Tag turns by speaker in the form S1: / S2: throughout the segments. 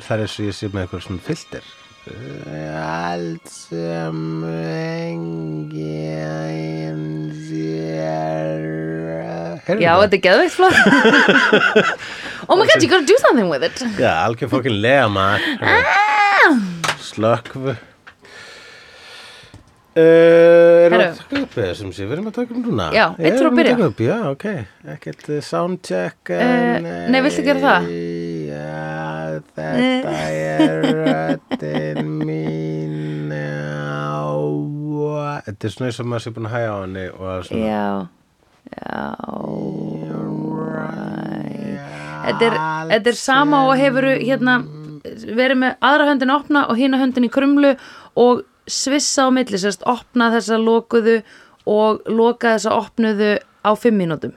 S1: það er eins og ég sé með eitthvað svona filter Allt sem enginn sér Heyrðu
S2: Já,
S1: það?
S2: þetta er geðveikt flott Oh my god, you gotta do something with it
S1: Já, algjör fókin lega maður Slökkvu Uh, erum við að
S2: Herru.
S1: taka upp eða sem sé, við erum að taka upp núna
S2: Já, einn þurfa
S1: Erum við
S2: að byrja.
S1: taka upp, Já, ok, ekkert eh, soundcheck en,
S2: Eh, nei, viltu gera það? Eh.
S1: Já, þetta er röddin mín á Þetta er svona eins og maður sé búin að hæja á henni og að svona
S2: Já Já Þetta er, þetta er sama og hefur hérna, verið með aðra höndin opna og hina höndin í krumlu og svissa á milli, sérst opna þessa lokuðu og loka þessa opnuðu á fimm mínútum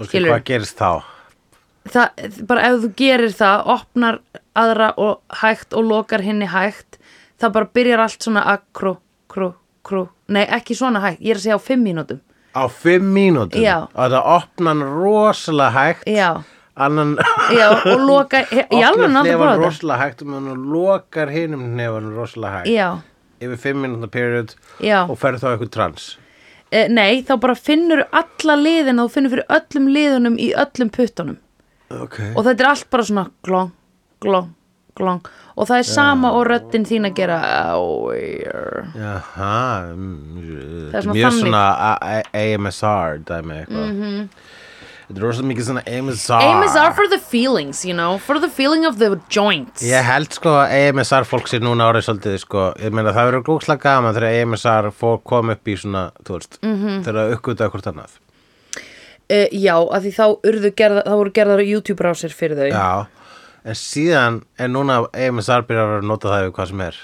S1: Og
S2: skilur.
S1: hvað gerist þá?
S2: það, bara ef þú gerir það opnar aðra og hægt og lokar henni hægt það bara byrjar allt svona að krú, krú, krú, nei ekki svona hægt ég er að segja á fimm mínútum
S1: Á fimm mínútum?
S2: Já.
S1: Og það opna hann rosalega hægt.
S2: Já.
S1: Annan...
S2: Já, og loka, he- ég alveg
S1: opnar
S2: náttúrulega
S1: hnefann
S2: bara þetta
S1: rosalega hægt og meðan hann lokar hinum hnefann rosalega hægt.
S2: Já,
S1: Yfir fimm mínúta period
S2: Já.
S1: og ferð þá eitthvað trans.
S2: e, nei, þá bara finnur alla liðina, þú finnur fyrir öllum liðunum í öllum puttunum
S1: Ok.
S2: og þetta er allt bara svona glong, glong, glong og það er sama og röddin þín að gera áir.
S1: Jaha, mm, þetta er
S2: svona
S1: mjög
S2: þannig. Mhm.
S1: svona A- A- AMSR dæmi eitthvað. Þetta er rosalega mikið svona AMSR.
S2: Aim is are for the feelings, you know, for the feeling of the joints
S1: Ég held sko að AMSR fólk sér núna árið svolítið sko, ég meina það verður gókslega gaman þegar AMSR fólk kom upp í svona, þú veist,
S2: Mhm.
S1: þegar að uppgöta hvort annað.
S2: Uh, já, að því þá urðu gerða, þá voru gerðar YouTube-rásir fyrir þau.
S1: Já, en síðan er núna AMSR byrjar að nota það við hvað sem er.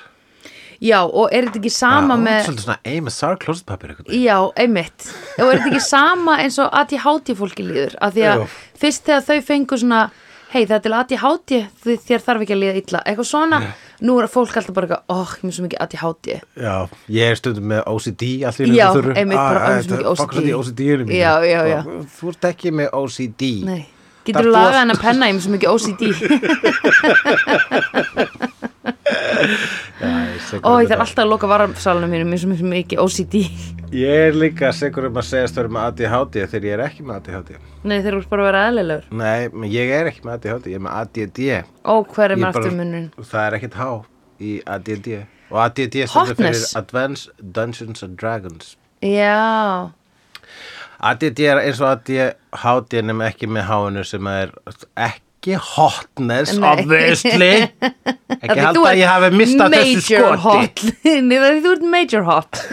S2: Já, og er þetta ekki sama
S1: Já,
S2: með...
S1: Svolítið svona AMSR klósetpapir eitthvað.
S2: Já, einmitt. Og er þetta ekki sama eins og ADHD fólki líður? Af því að
S1: Jú.
S2: fyrst þegar þau fengu svona, hei það er til ADHD, því þér þarf ekki að líða illa. Eitthvað svona, nú er fólk alltaf bara eitthvað, óh, ég mér svo mikið ADHD.
S1: Já, ég er stundum með OCD allt í
S2: Já,
S1: einu, þú þurfur-
S2: einmitt, bara
S1: Ah,
S2: alveg svo
S1: þetta-
S2: mikið
S1: fuck, svolítið
S2: OCD.
S1: OCD -inu mínu.
S2: Já, já, já.
S1: Bara, Þú ert ekki með OCD.
S2: Nei.
S1: Þarf
S2: Getur
S1: þú
S2: þú
S1: að-
S2: lagað hennar penna, ég mér svo mikið OCD.
S1: Já, ég sé hvað þú
S2: Ó, ég þarf
S1: ert að-
S2: alltaf að loka varmsalunum mínum, mér svo mikið OCD.
S1: Ég er líka segur um að segjast verið með ADHD þegar ég er ekki með ADHD.
S2: Nei, þeir eru bara að vera eðlilegur.
S1: Nei, men ég er ekki með ADHD, ég er með ADD
S2: Ó, hver er
S1: Ég
S2: með
S1: bara-
S2: aftur munun?
S1: Það er ekkert H í ADD Og ADD stendur fyrir
S2: Hotness.
S1: Advanced Dungeons and Dragons
S2: Já,
S1: ADD er eins og ADHD nefnum ekki með H-inu sem er ekki hotness,
S2: Nei.
S1: obviously
S2: Af
S1: Ekki
S2: því
S1: halda
S2: þú
S1: að
S2: ert
S1: ég hafi mistað þessu
S2: major
S1: skoti
S2: hot. Nei, það er- þú ert major hot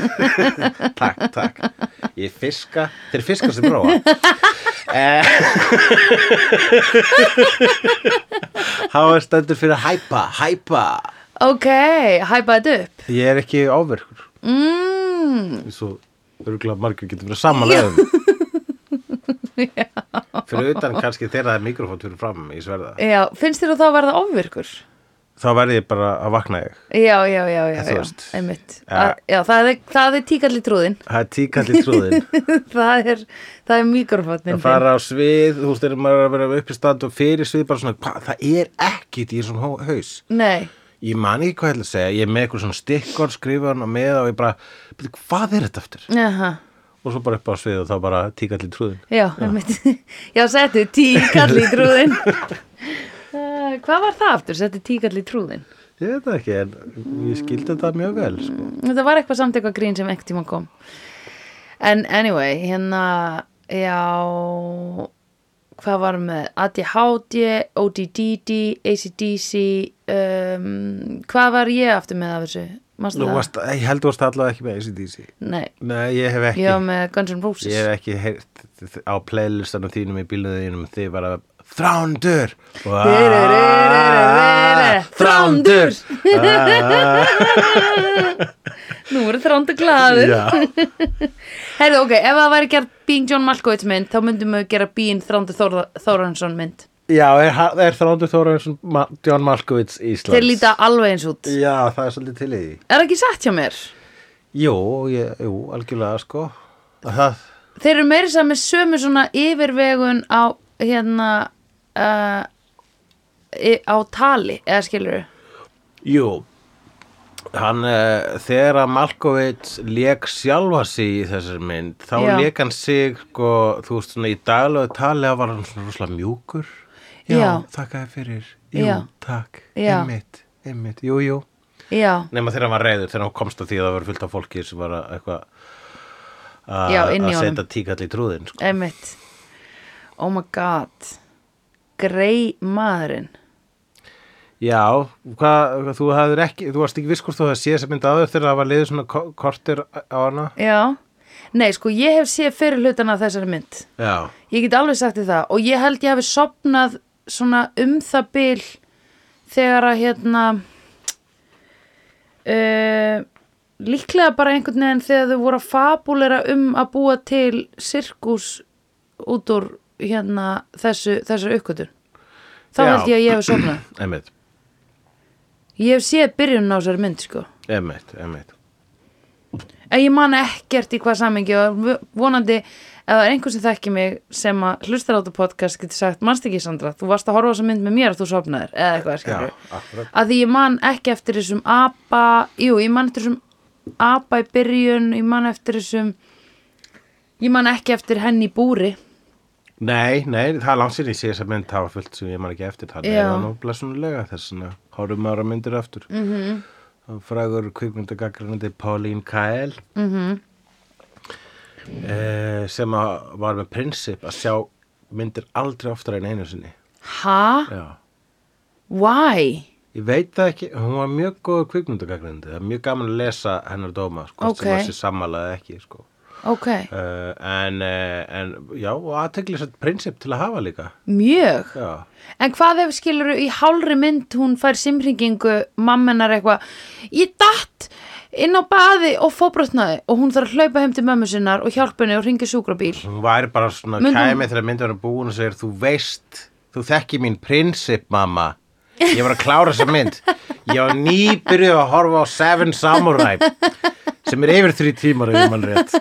S1: Takk, takk Ég fiska, þeir fiska sem bróa Eh. H stendur fyrir hæpa, hæpa
S2: ok, hæpa þetta upp
S1: Ég er ekki áverkur
S2: mm,
S1: eins og örgulega margir getur verið samanlegðum fyrir utan kannski þegar það er mikrofót fyrir fram í sverða
S2: já, finnst þér að það verða ofvirkur
S1: þá verði ég bara að vakna ég
S2: já, já, já, já,
S1: Þú
S2: já,
S1: veist.
S2: einmitt
S1: Ja.
S2: Að- já, það er, það er tíkalli trúðin
S1: það er tíkall í trúðin
S2: það er, það er mikrofotnin
S1: að fara á svið, þú veist, þegar maður er að vera upp í stand og fyrir svið bara svona, hvað, það er ekkit í þessum hó- haus
S2: nei,
S1: ég man ekki hvað ég ætla að segja, ég er með eitthvað svona stikkor skrifan og með og ég bara "Bíddu, hvað er þetta aftur?
S2: aha
S1: og svo bara upp á svið og þá bara tíkall í trúðin
S2: Já, einmitt. Já, settu tíkalli í trúðin. Uh, hvað var það aftur, settu tíkalli í trúðin?
S1: ég veit það ekki, en ég skildi þetta mjög vel sko.
S2: Þetta var eitthvað samt eitthvað grín sem ekkert tíma kom En anyway, hérna Já Hvað var með ADHD, ODDD, ACDC um, Hvað var ég aftur með af þessu? Manstu
S1: Nú
S2: það?
S1: varst, ég held þú varst allavega ekki með ACDC
S2: Nei,
S1: Nei, ég hef ekki
S2: ég var með Guns N' Roses
S1: Ég hef ekki heyrt þ- á playlistanum þínum í bílunum þínum þið var að Þrándur
S2: Þrándur!
S1: Ah,
S2: Nú voru þrándu glaður
S1: Já,
S2: Heyrðu, ok, ef það væri gerð Being John Malkovich mynd, þá myndum við gera Being Þrándu Þórhansson mynd
S1: já er, ha- er Þrándur Þórainsson Ma- John Malkovits Íslands
S2: Þeir líta alveg eins út Er
S1: Já, það er svolítið til í því
S2: það ekki satt hjá mér?
S1: Jú, ég, jú algjörlega sko Það,
S2: þeir eru meiri saman með sömu svona yfirvegun á hérna uh, í- á tali eða skilur
S1: Jú, hann, uh, þegar að Malkovits lék sjálfa sig í þessari mynd, þá
S2: Já.
S1: lék hann sig, sko, þú veist, svona í daglegu tali þá var hann svona rosalega mjúkur. Já,
S2: Já.
S1: þakka þér fyrir. Jú,
S2: Já.
S1: takk,
S2: Já.
S1: einmitt, einmitt, jú, jú.
S2: já,
S1: Nefna þegar hann var reyður, þegar hann komst að því að það var fullt af fólki sem var að eitthvað að
S2: Já, inni í
S1: að
S2: honum.
S1: setja tíkall í trúðin, sko.
S2: einmitt oh my god grei maðurinn
S1: Já, hvað, þú hafðir ekki, þú varst ekki viss hvort þú hafði séð þessa mynd áður þegar það var liðið svona ko- kortir á hana.
S2: já, nei sko ég hef séð fyrir hlutana af þessari mynd
S1: Já,
S2: ég get alveg sagt þér það og ég held ég hafi sopnað svona um það bil þegar að hérna uh, líklega bara einhvern veginn þegar þau voru að fabulera um að búa til sirkus út úr hérna þessu, þessu uppgötun þá
S1: Já.
S2: held ég að ég hef sopnað
S1: einmitt.
S2: ég hef séð byrjun á þessari mynd sko
S1: Emmett, Emmett
S2: en ég man ekkert í hvað samengi og vonandi ef það er einhver sem þekki mig sem að hlustar á þetta podcast getur sagt, manst ekki Sandra, þú varst að horfa á þessa mynd með mér að þú sofnaðir eða eitthvað skilur
S1: akkurat
S2: að því ég man ekki eftir þessum apa jú, ég man eftir þessum apa í byrjun, ég man eftir þessum ég man ekki eftir henni í búri
S1: Nei, nei, það er langt sér ég sé þess að mynd hafa fullt sem ég man ekki eftir þannig
S2: Já.
S1: er það nú blessunulega þess að horfum ára myndir aftur mm -hmm. frægur kvikmyndagagrinandi Pauline Kael mm -hmm. sem að var með prinsip að sjá myndir aldrei oftar en einu sinni
S2: ha?
S1: Já.
S2: Why?
S1: Ég veit það ekki, hún var mjög góð kvikmyndagagrinandi, það er mjög gaman að lesa hennar dóma, sko, sem
S2: Ókei.
S1: að sé sammálaði ekki, sko
S2: Ok,
S1: Uh, en, uh, en já, og aðteglisett prinsip til að hafa líka
S2: mjög
S1: Já,
S2: En hvað ef skilur í hálri mynd hún fær simringingu mammenar eitthvað Ég datt inn á baði og fóbrotnaði og hún þarf að hlaupa heim til mömmu sinnar og hjálpa henni og ringi sjúkrabíl
S1: hún væri bara svona
S2: Myndi hún-
S1: kæmið þegar myndið hann búin og segir þú veist, þú þekki mín prinsip mamma, ég var að klára þessa mynd ég var nýbyrjuð að horfa á Seven Samurai sem er yfir þrý tímar yfir mann rétt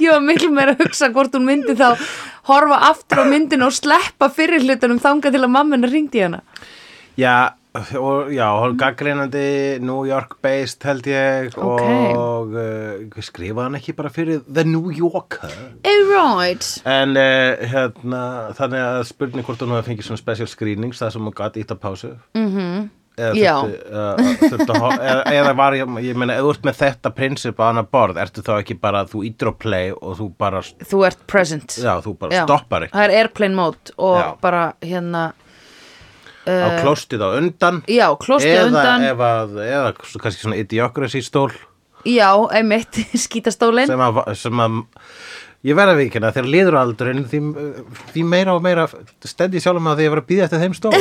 S2: Ég var miklu meira að hugsa hvort hún myndi þá horfa aftur á myndin og sleppa fyrir hlutunum þanga til að mammenar ringdi hana
S1: Já, og, já, hún gaggreinandi New York based held ég
S2: Ókei.
S1: og uh, skrifaði hann ekki bara fyrir The New Yorker
S2: Alright
S1: En uh, hérna, þannig að spurning hvort hún hafi fengið svona special screenings það sem hún gæti ítt að pásu mm -hmm.
S2: Mhm. Já.
S1: eða, eða var, ég, ég meina, ef þú ert með þetta prinsip á hana borð, ertu þá ekki bara þú ítir á play og þú bara
S2: Þú ert present
S1: já, þú bara
S2: Já.
S1: stoppar ekki
S2: Það er airplane mode og
S1: Já.
S2: bara hérna Eh,
S1: á klóstið á undan
S2: Já, klostið
S1: eða,
S2: undan
S1: ef að, eða svo- kannski svona idiocracy stól
S2: Já, einmitt, skítastólin
S1: sem að, sem að ég verða við ekki, þegar liður á aldurinn því, því meira og meira stend ég sjálfum að því að ég var að býða eftir þeim stól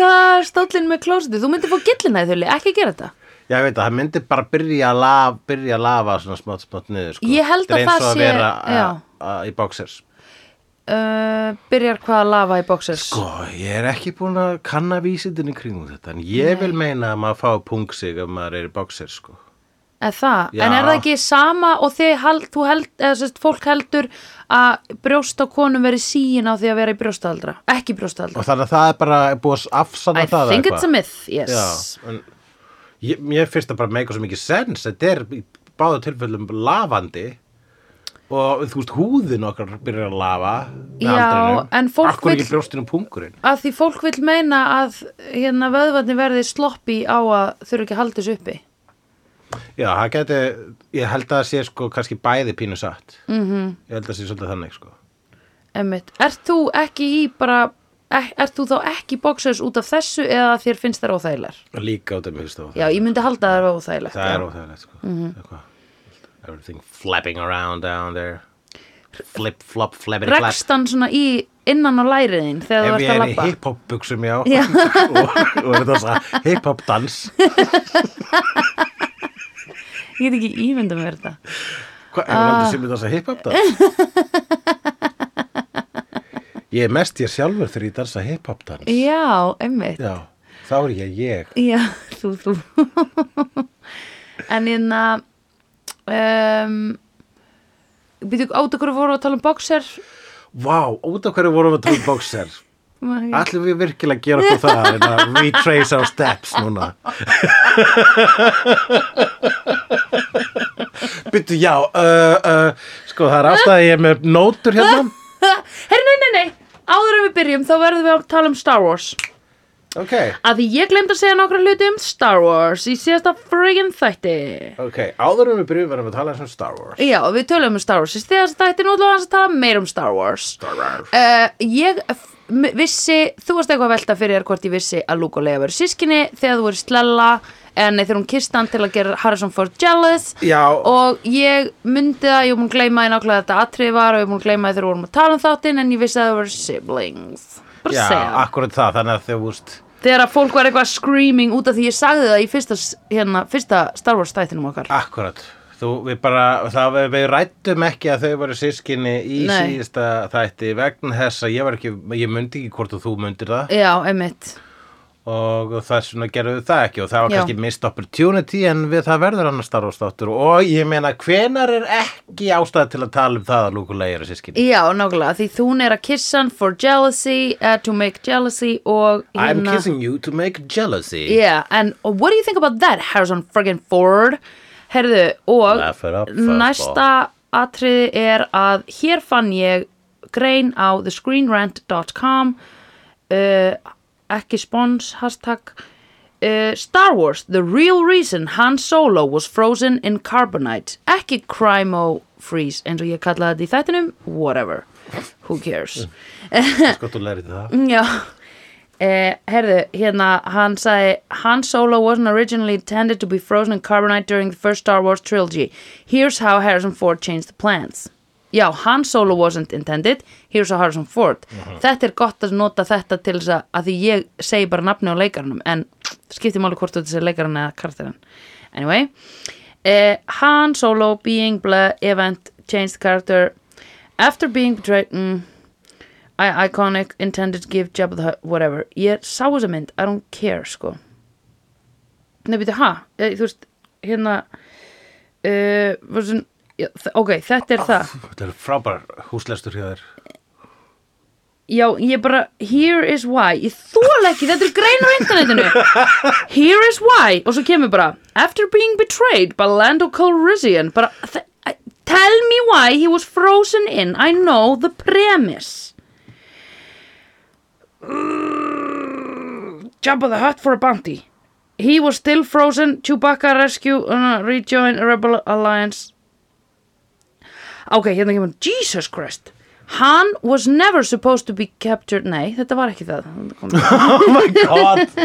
S2: Það er stólinn með klósitið, þú myndir fá gillina í þulli, ekki gera þetta.
S1: Já, ég veit að það myndi bara byrja að lafa, byrja að lafa svona smátt, smátt niður, sko.
S2: Ég held að
S1: Þetta er
S2: það sé-
S1: eins og að vera
S2: já.
S1: a, a, í boxers.
S2: Uh, byrjar hvað að lafa í bóksers?
S1: Sko, ég er ekki búin að kanna vísindin í kringum þetta, en ég vil meina að maður fá pung sig ef maður er í boxers, sko.
S2: Er það?
S1: Já.
S2: En er það ekki sama og þið held, þú held, eða sérst, fólk heldur að brjóst á konum veri síin á því að vera í brjóstaldra, ekki brjóstaldra.
S1: Og þannig að það er bara búið að afsanna
S2: I
S1: það eða
S2: think it's a myth, yes.
S1: Já, en ég, ég finnst það bara meika svo mikið sens, þetta er í báðu tilfellum lafandi og þú veist, húðin okkar byrjar að lafa með
S2: Já,
S1: aldrinum.
S2: en fólk
S1: Akkur ekki
S2: vill-
S1: brjóstinu pungurinn.
S2: Að því fólk vil meina að hérna vöðvarnir verði sloppi á að þurfa ekki að halda þessu uppi.
S1: Já, það geti, ég held að það sé sko kannski bæði pínu satt. Mm
S2: Mhm.
S1: -hmm. Ég held að það sé svolítið þannig sko.
S2: Emmitt, ert þú ekki í bara, er, ert þú þá ekki í bóksers út af þessu eða að þér finnst þær óþægilegar?
S1: Líka út af mér stóð.
S2: Já, ég myndi halda það er óþægilegt.
S1: Það
S2: já. Mhm.
S1: er óþægilegt sko. Mm -hmm. Everything flapping around down there. Flip, flop, flappity flap.
S2: Rekst hann svona í innan á læriðin þegar þú
S1: Ef ég er
S2: ert að
S1: í
S2: labba?
S1: hip-hop buksum, já.
S2: Já.
S1: og, og er þetta svo hip-hop dans.
S2: Ég get ekki ímynda mér þetta.
S1: Hvað, hefur
S2: Ah.
S1: aldrei sem við dansa hip-hop dans? ég er mest ég sjálfur þegar ég dansa hip-hop dans.
S2: Já, einmitt.
S1: Já, þá er ég ég.
S2: Já, þú, þú. en hérna, um, Býtu át okkur voru að tala um boxer
S1: Vá, út af hverju vorum við að tala um bókser?
S2: All...
S1: Allir við virkilega að gera okkur það en að retrace our steps núna. Byttu, já, uh, uh, sko það er ástæði ég er með nótur hérna.
S2: Herri, nei, nei, nei Áður en við byrjum þá verðum við að tala um Star Wars
S1: Ok,
S2: Af því ég glemd að segja nokkra hluti um Star Wars í síðasta friggin þætti
S1: ok, áður en við byrjum verðum við að tala eins um Star Wars.
S2: Já, við tölum um Star Wars í síðasta þætti nú ætlum við aðeins að tala meir um Star Wars
S1: Star Wars.
S2: Uh, ég f- m- vissi, þú varst eitthvað að velta fyrir þér hvort ég vissi að Luke og Leia veru sískinni þegar þú voru slella en þegar hún kyssti hann til að gera Harrison Ford jealous
S1: Já,
S2: og ég myndi það, ég var múin að gleyma því nákvæmlega þetta atrið var og ég var múin að gleyma því þegar við vorum að tala um þáttinn en ég vissi að það voru siblings bara
S1: já,
S2: segja,
S1: akkurat það, þannig að þau úst,
S2: þegar að fólk var eitthvað screaming út af því ég sagði það í fyrsta, s- hérna, fyrsta Star Wars þættinum okkar
S1: akkurat. Þú, við bara, það við, við rættum ekki að þau voru sískinni í
S2: Nei.
S1: síðasta þætti vegna þess að ég var ekki, ég myndi ekki hvort að þú myndir það.
S2: Já, einmitt
S1: og þess vegna gerðum við það ekki og það var
S2: Já.
S1: kannski missed opportunity en við það verður annars Star Wars þáttur og ég meina hvenar er ekki ástæð til að tala um það að Luke og Leia eru sískinni
S2: Já, nákvæmlega, því hún er að kissa hann for jealousy, uh, to make jealousy og hérna-
S1: I'm kissing you to make jealousy
S2: Yeah, and what do you think about that, Harrison friggin Ford? Herðu, og
S1: Laugh it up, fuzzball.
S2: næsta atriði er að hér fann ég grein á thescreenrant.com uh, ekki spons, hashtag uh, Star Wars, the real reason Han Solo was frozen in carbonite ekki crimo freeze eins og ég kallaði þetta í þættinum whatever, who cares
S1: sko þú lærið það
S2: Mm, Já Eh, herðu, hérna, hann sagði Han Solo wasn't originally intended to be frozen in carbonite during the first Star Wars trilogy Here's how Harrison Ford changed the plans Já, Han Solo wasn't intended Here's how Harrison Ford Þetta er gott að nota þetta til þess að að því ég segi bara nafni á leikaranum en skipti máli hvort þú þetta segir leikaran eða karakterin Anyway eh, Han Solo being blah event changed the character After being betrayed mm, I iconic intended to give Jabba the Hutt whatever ég sá þessa mynd, I don't care sko nei býttu, ha? Eh, þú veist, hérna uh, svona, já, þ- ok, þetta er það
S1: þetta er frábær húslestur hjá þér
S2: já, ég bara, here is why ég þóla ekki, þetta er grein á internetinu here is why og svo kemur bara, after being betrayed by Lando Calrissian bara, þ- I- tell me why he was frozen in I know the premise Jabba the Hutt for a bounty. He was still frozen. Chewbacca rescue uh, rejoin Rebel Alliance. Ok, hérna kemur Jesus Christ. Han was never supposed to be captured. Nei, þetta var ekki það.
S1: oh my god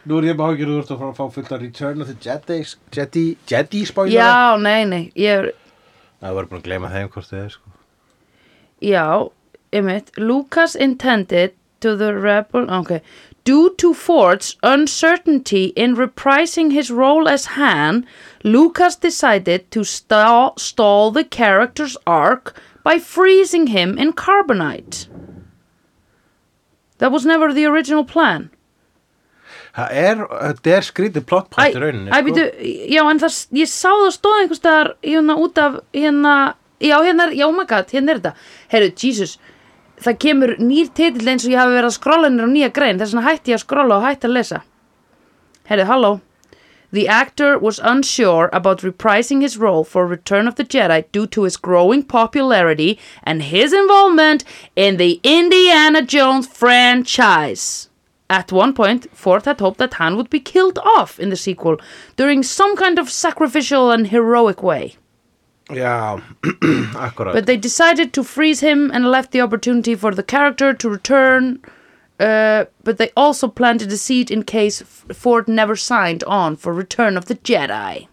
S1: nú er ég bara ekki úr að fara að fá fullt að Return of the Jedi Jedi, Jedi spoiler
S2: já, nei, nei. Ég er,
S1: það var bara að gleyma þeim hvort þið er sko
S2: já, einmitt. Lucas intended to the Rebel, ok. Due to Ford's uncertainty in reprising his role as Han, Lucas decided to stall, stall the character's arc by freezing him in carbonite. That was never the original plan.
S1: það er, þetta er skrítið
S2: Æ,
S1: plottpátt í rauninni sko.
S2: æ, býtu, já, en það, ég sá það stóð einhvers staðar hérna út af hérna, já, hérna, er- já, oh my god, hérna er þetta. Herru, Jesus, það kemur nýr titill eins og ég hafi verið að skrolla nýra á nýja grein, þess vegna hætti ég að skrolla og hætti að lesa. Herru, halló. The actor was unsure about reprising his role for Return of the Jedi due to his growing popularity and his involvement in the Indiana Jones franchise. At one point, Ford had hoped that Han would be killed off in the sequel during some kind of sacrificial and heroic way.
S1: já, akkurat
S2: But they decided to freeze him and left the opportunity for the character to return. Uh, but they also planted a seed in case F- Ford never signed on for Return of the Jedi.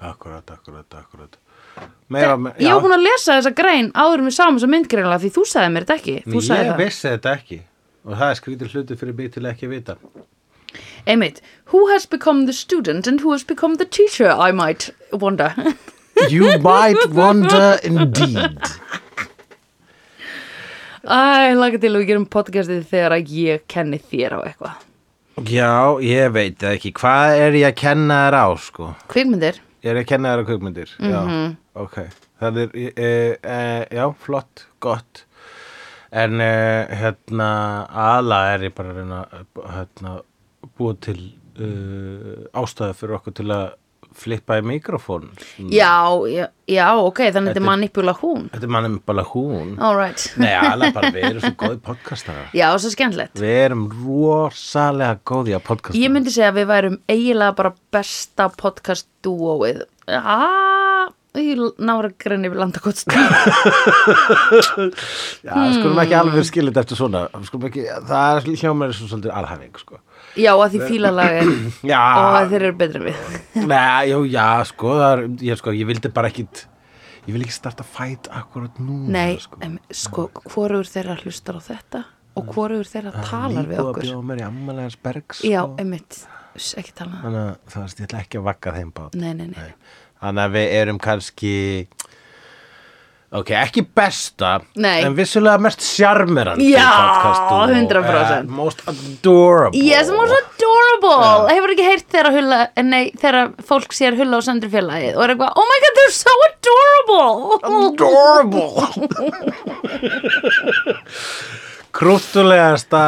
S1: Akkurat, akkurat, akkurat Meira, me-
S2: Ég var búin að lesa þessa grein áður en við sáum þessa myndgreinlega því þú sagði mér þetta ekki. Þú sagði
S1: Ég
S2: það.
S1: vissi þetta ekki og það er skrítið hluti fyrir mig til ekki að vita
S2: Einmitt, who has become the student and who has become the teacher, I might wonder.
S1: You might wonder indeed
S2: Æ, laga til að við gerum podcastið þegar að ég kenni þér á eitthvað.
S1: Já, ég veit það ekki, hvað er ég að kenna þér á sko
S2: Kvikmyndir?
S1: Ég er að kenna þér að kvikmyndir
S2: Mhm.
S1: Já, ok Það er, e, e, já, flott, gott En e, hérna Ala er ég bara að reyna að hérna, búa til e, ástæða fyrir okkur til að flippa í mikrofón
S2: Já, já, já, ok, þannig Mm. þetta
S1: Þetta
S2: er
S1: er-
S2: manipula hún
S1: Þetta er mannum bara hún
S2: All right
S1: Nei, Ala bara, við erum svo góði podcastara
S2: Já, svo skemmtilegt
S1: Við erum rosalega góði að podcasta
S2: Ég myndi segja að við værum eiginlega bara besta podcast duoið Ah, ég nára grenni við landakotst
S1: Já, skulum ekki
S2: Hmm.
S1: alveg skilja þetta eftir svona Skulum ekki, það er hjá mér svo svolítið alhæfing, sko
S2: Já, að því fílalag er
S1: Já,
S2: og að þeir eru betri en við
S1: Nei, já, já, sko, það er, ég, sko, ég vildi bara ekkit, ég vil ekki starta fæt akkurat núna,
S2: Nei,
S1: sko. Ah.
S2: em, sko, hvorugur þeirra hlustar á þetta og hvorugur þeirra talar
S1: Það
S2: við
S1: er
S2: okkur
S1: líka að bjóða mér í ammalegans bergs,
S2: Já,
S1: sko.
S2: einmitt, Uss, ekki tala um það.
S1: Þannig að það veist, ég ætla ekki að vakka þeim bát.
S2: Nei, nei, nei,
S1: Þannig að við erum kannski, ok, ekki besta,
S2: Nei.
S1: en vissulega mest sjarmerandi
S2: Já,
S1: podcast og, eh,
S2: 100%.
S1: most adorable.
S2: Yes, most adorable Hefur ekki heyrt þeirra hulla eh, Nei, þeirra fólk sér hulla á söndri félagið og er eitthvað, oh my god, they're so adorable
S1: Adorable Krúttulegasta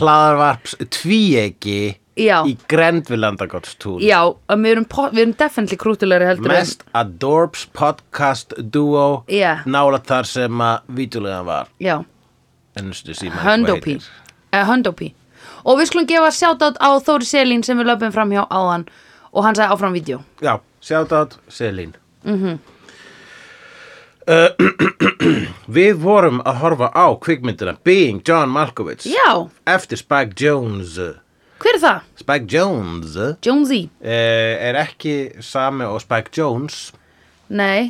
S1: hlaðarvarps tvíegi
S2: Já.
S1: í Grendvilandagottstún
S2: Já, að við erum, po- við erum definitely krútulegri heldur en-
S1: Mest Adorbs podcast duo
S2: Já.
S1: nála þar sem að vítulegan var
S2: Já,
S1: ennustu síma
S2: höndópí eh, Höndópí Og við skulum gefa sjátt á Þóri Selín sem við löpum fram hjá áðan og hann sagði áfram vídeo
S1: Já, sjátt Selín uh, Eh, Við vorum að horfa á kvikmyndina Being John Malkovich
S2: Já,
S1: eftir Spike Jones
S2: hver er það?
S1: Spike Jones uh,
S2: Jonesy?
S1: er ekki sami og Spike Jones
S2: Nei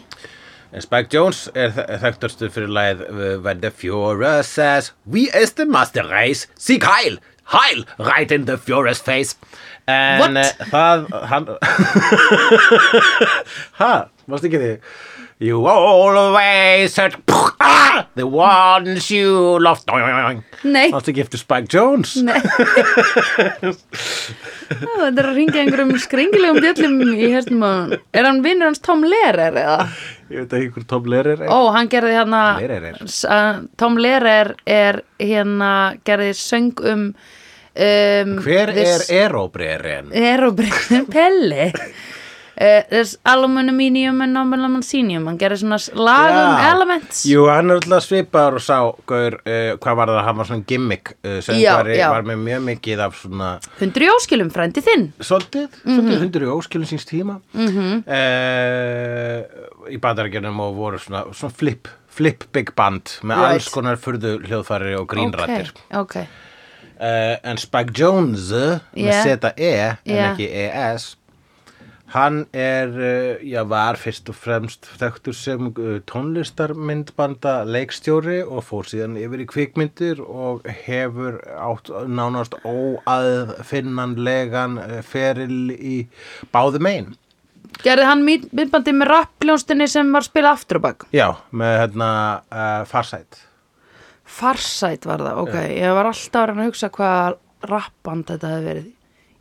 S1: en Spike Jones er þe- þekktarstur fyrir lagið uh, When the Fuhrer says We is the master race Seek heil, heil, right in the Fuhrer's face en
S2: What?
S1: eh, það hann ha, varstu ekki þig You always said ah, the ones you loved
S2: Nei.
S1: Varstu ekki eftir Spike Jones
S2: Nei Það er að ringa einhverjum skringilegum bjöllum í hérnum að Er hann vinnur hans Tom Lehrer eða?
S1: ég veit ekki hver Tom Lerer er
S2: Ó, hann gerði hérna
S1: Lehrer er.
S2: S- að Tom Lehrer er hérna gerði söng um, um
S1: hver er
S2: this-
S1: Erobreren
S2: Aerobrickin Pelli Uh, there's aluminium and aluminium hann gerði svona s- lag um
S1: Já.
S2: elements
S1: Jú, hann er alltaf svipaður og sá gaur, uh, hvað var það, hann var svona gimmick uh, söngvari,
S2: Já, já.
S1: var með mjög mikið af svona
S2: hundru í óskilum frændi þinn
S1: svolítið, svolítið
S2: Mhm.
S1: hundur í óskilum síns tíma mm -hmm. í bandarækjunum og voru svona, svona flip, flip big band með
S2: Right.
S1: alls konar furðu hljóðfæri og grínrættir
S2: ok, ok
S1: uh, en Spike Jones uh,
S2: Yeah.
S1: með seta E en
S2: Yeah.
S1: ekki ES hann er, uh, já var fyrst og fremst þekktur sem uh, tónlistarmyndbanda leikstjóri og fór síðan yfir í kvikmyndir og hefur átt nánast óaðfinnanlegan uh, feril í báðu megin
S2: Gerði hann mynd- myndbandið með rappljónstinni sem var spilað aftur á bak?
S1: já, með hérna uh, farsætt
S2: Farsæt var það, ok. Ég var alltaf að reyna að hugsa hvað rappband þetta hefði verið.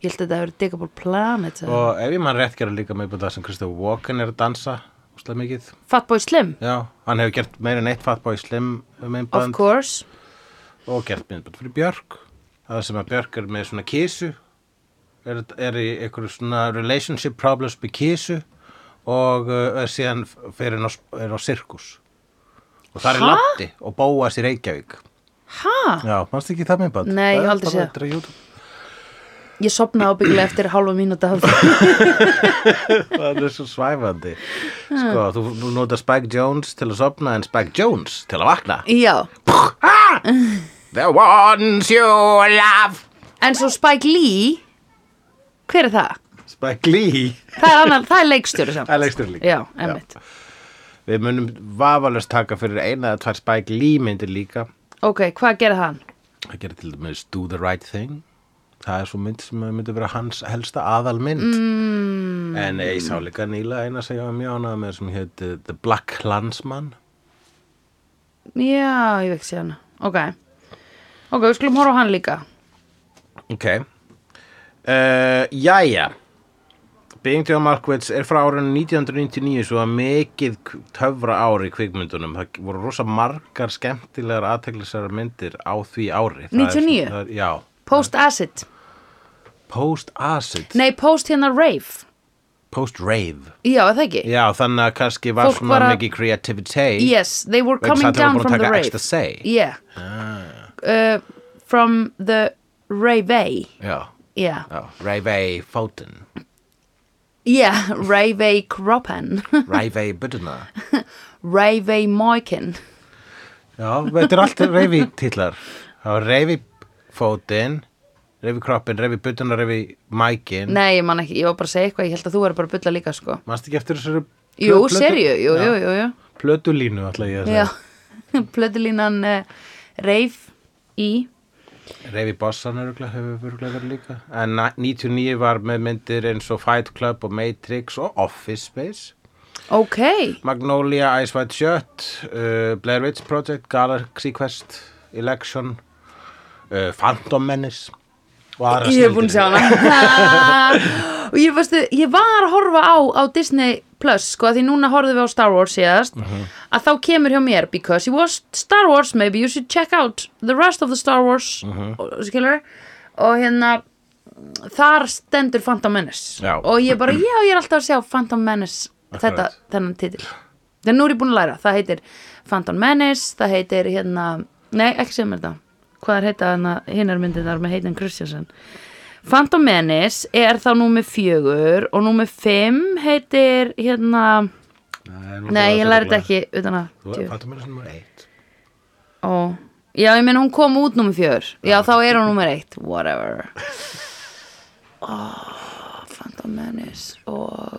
S2: Ég held að þetta hefði verið Digable Planet. Og...
S1: og ef ég mann rétt gera líka með það sem Kristján Walken er að dansa úslega mikið
S2: Fatboy Slim,
S1: Já, hann hefur gert meira en eitt Fatboy Slim
S2: of
S1: myndband
S2: course.
S1: og gert myndband fyrir Björk það sem að Björk er með svona kísu er, er í einhverju svona relationship problems með kísu og uh, er síðan fyrir á, er á sirkus og það er
S2: Ha?
S1: Latti og Bóas í Reykjavík
S2: Ha?
S1: Já, mannstu ekki það myndband?
S2: Nei, ég
S1: Það er
S2: aldrei
S1: bara
S2: séð.
S1: þetta á YouTube.
S2: Ég sopnaði ábyggilega eftir hálfa mínúta af því.
S1: það er svo svæfandi Sko, þú, þú notar Spike Jones til að sopna en Spike Jones til að vakna
S2: Já.
S1: The ones you love
S2: En svo Spike Lee, hver er það?
S1: Spike Lee
S2: Það er, annar, það er leikstjóri samt.
S1: Það er leikstjóri líka.
S2: Já, emmitt.
S1: Við munum vafalust taka fyrir eina eða tvær Spike Lee myndir líka
S2: Ok, hvað gerði hann?
S1: Það gerir til dæmis Do the Right Thing Það er svo mynd sem myndi vera hans helsta aðal mynd mm. En ég sá líka nýla eina sem ég var mjög ánað með sem hétt eh, The Black Landsman
S2: Já, ég veit ekki hana. Ok. Ok, við skulum horfa á hann líka.
S1: Ok uh, Jæja Eh, Being John Markowitz er frá árinu 1999 svo að mikið k- töfra ári í kvikmyndunum. Það voru rosa margar skemmtilegar aðteglisæra myndir á því ári. Það er-
S2: 99?
S1: það er- Já.
S2: Post-acid
S1: Post-acid.
S2: Nei, post hérna rave
S1: Post-rave.
S2: Já, er það ekki
S1: Já, þannig að kannski var
S2: Fólk
S1: svona
S2: var að-
S1: mikið creativity.
S2: Yes, they were
S1: Vegna þess
S2: coming
S1: að allir
S2: down
S1: voru
S2: from
S1: búin að
S2: the
S1: taka
S2: rave
S1: ecstasy.
S2: Yeah
S1: Ah.
S2: uh, From the rave
S1: Já.
S2: Yeah,
S1: Já. Rave Fountain.
S2: yeah. rave kroppen
S1: Rave Buduna.
S2: Rave moiken
S1: Mm. Já, þetta er allt reyfi titlar. Það var reyfi fótinn, reyfi kroppin, reyfi buttuna, reyfi mækin.
S2: Nei, ég man ekki, ég var bara að segja eitthvað Ég held að þú er bara að bulla líka, sko
S1: Manst ekki eftir þessari plö-
S2: Jú,
S1: plötu-
S2: serju, jú,
S1: Já,
S2: jú, jú, jú.
S1: Plötulínu alltaf ég að
S2: Já,
S1: segja.
S2: plötulínan uh, E. Reif í
S1: Reyfi bossan öruglega hefur öruglega verið líka. En na- 99 var með myndir eins og Fight Club og Matrix og Office Space.
S2: Ok,
S1: Magnolia, Ice White Shirt, uh, Blair Witch Project, Galaxy Quest, Election, uh, Phantom Menace og aðra
S2: ég hef búin að sjá hana Og ég, veistu, ég var að horfa á, á Disney Plus sko, af því núna horfðum við á Star Wars síðast að þá kemur hjá mér because you watched Star Wars, maybe you should check out the rest of the Star Wars og, skilur, og hérna þar stendur Phantom Menace
S1: Já.
S2: og ég bara, já, ég er alltaf að sjá Phantom Menace
S1: Akkurat.
S2: þetta, þennan titil en nú er ég búin að læra, það heitir Phantom Menace, það heitir hérna nei, ekki sem þetta hvað er heita hérna hinnar myndirnar með heitin Kristjánsson Phantom Menace er þá númer fjögur og númer fimm heitir hérna, nei ég læri þetta ekki utan að djú.
S1: Phantom Menace nummer 1.
S2: Ó. Já, ég meina hún kom út númer fjör Já, þá er hún númer eitt Whatever oh, Phantom Menace og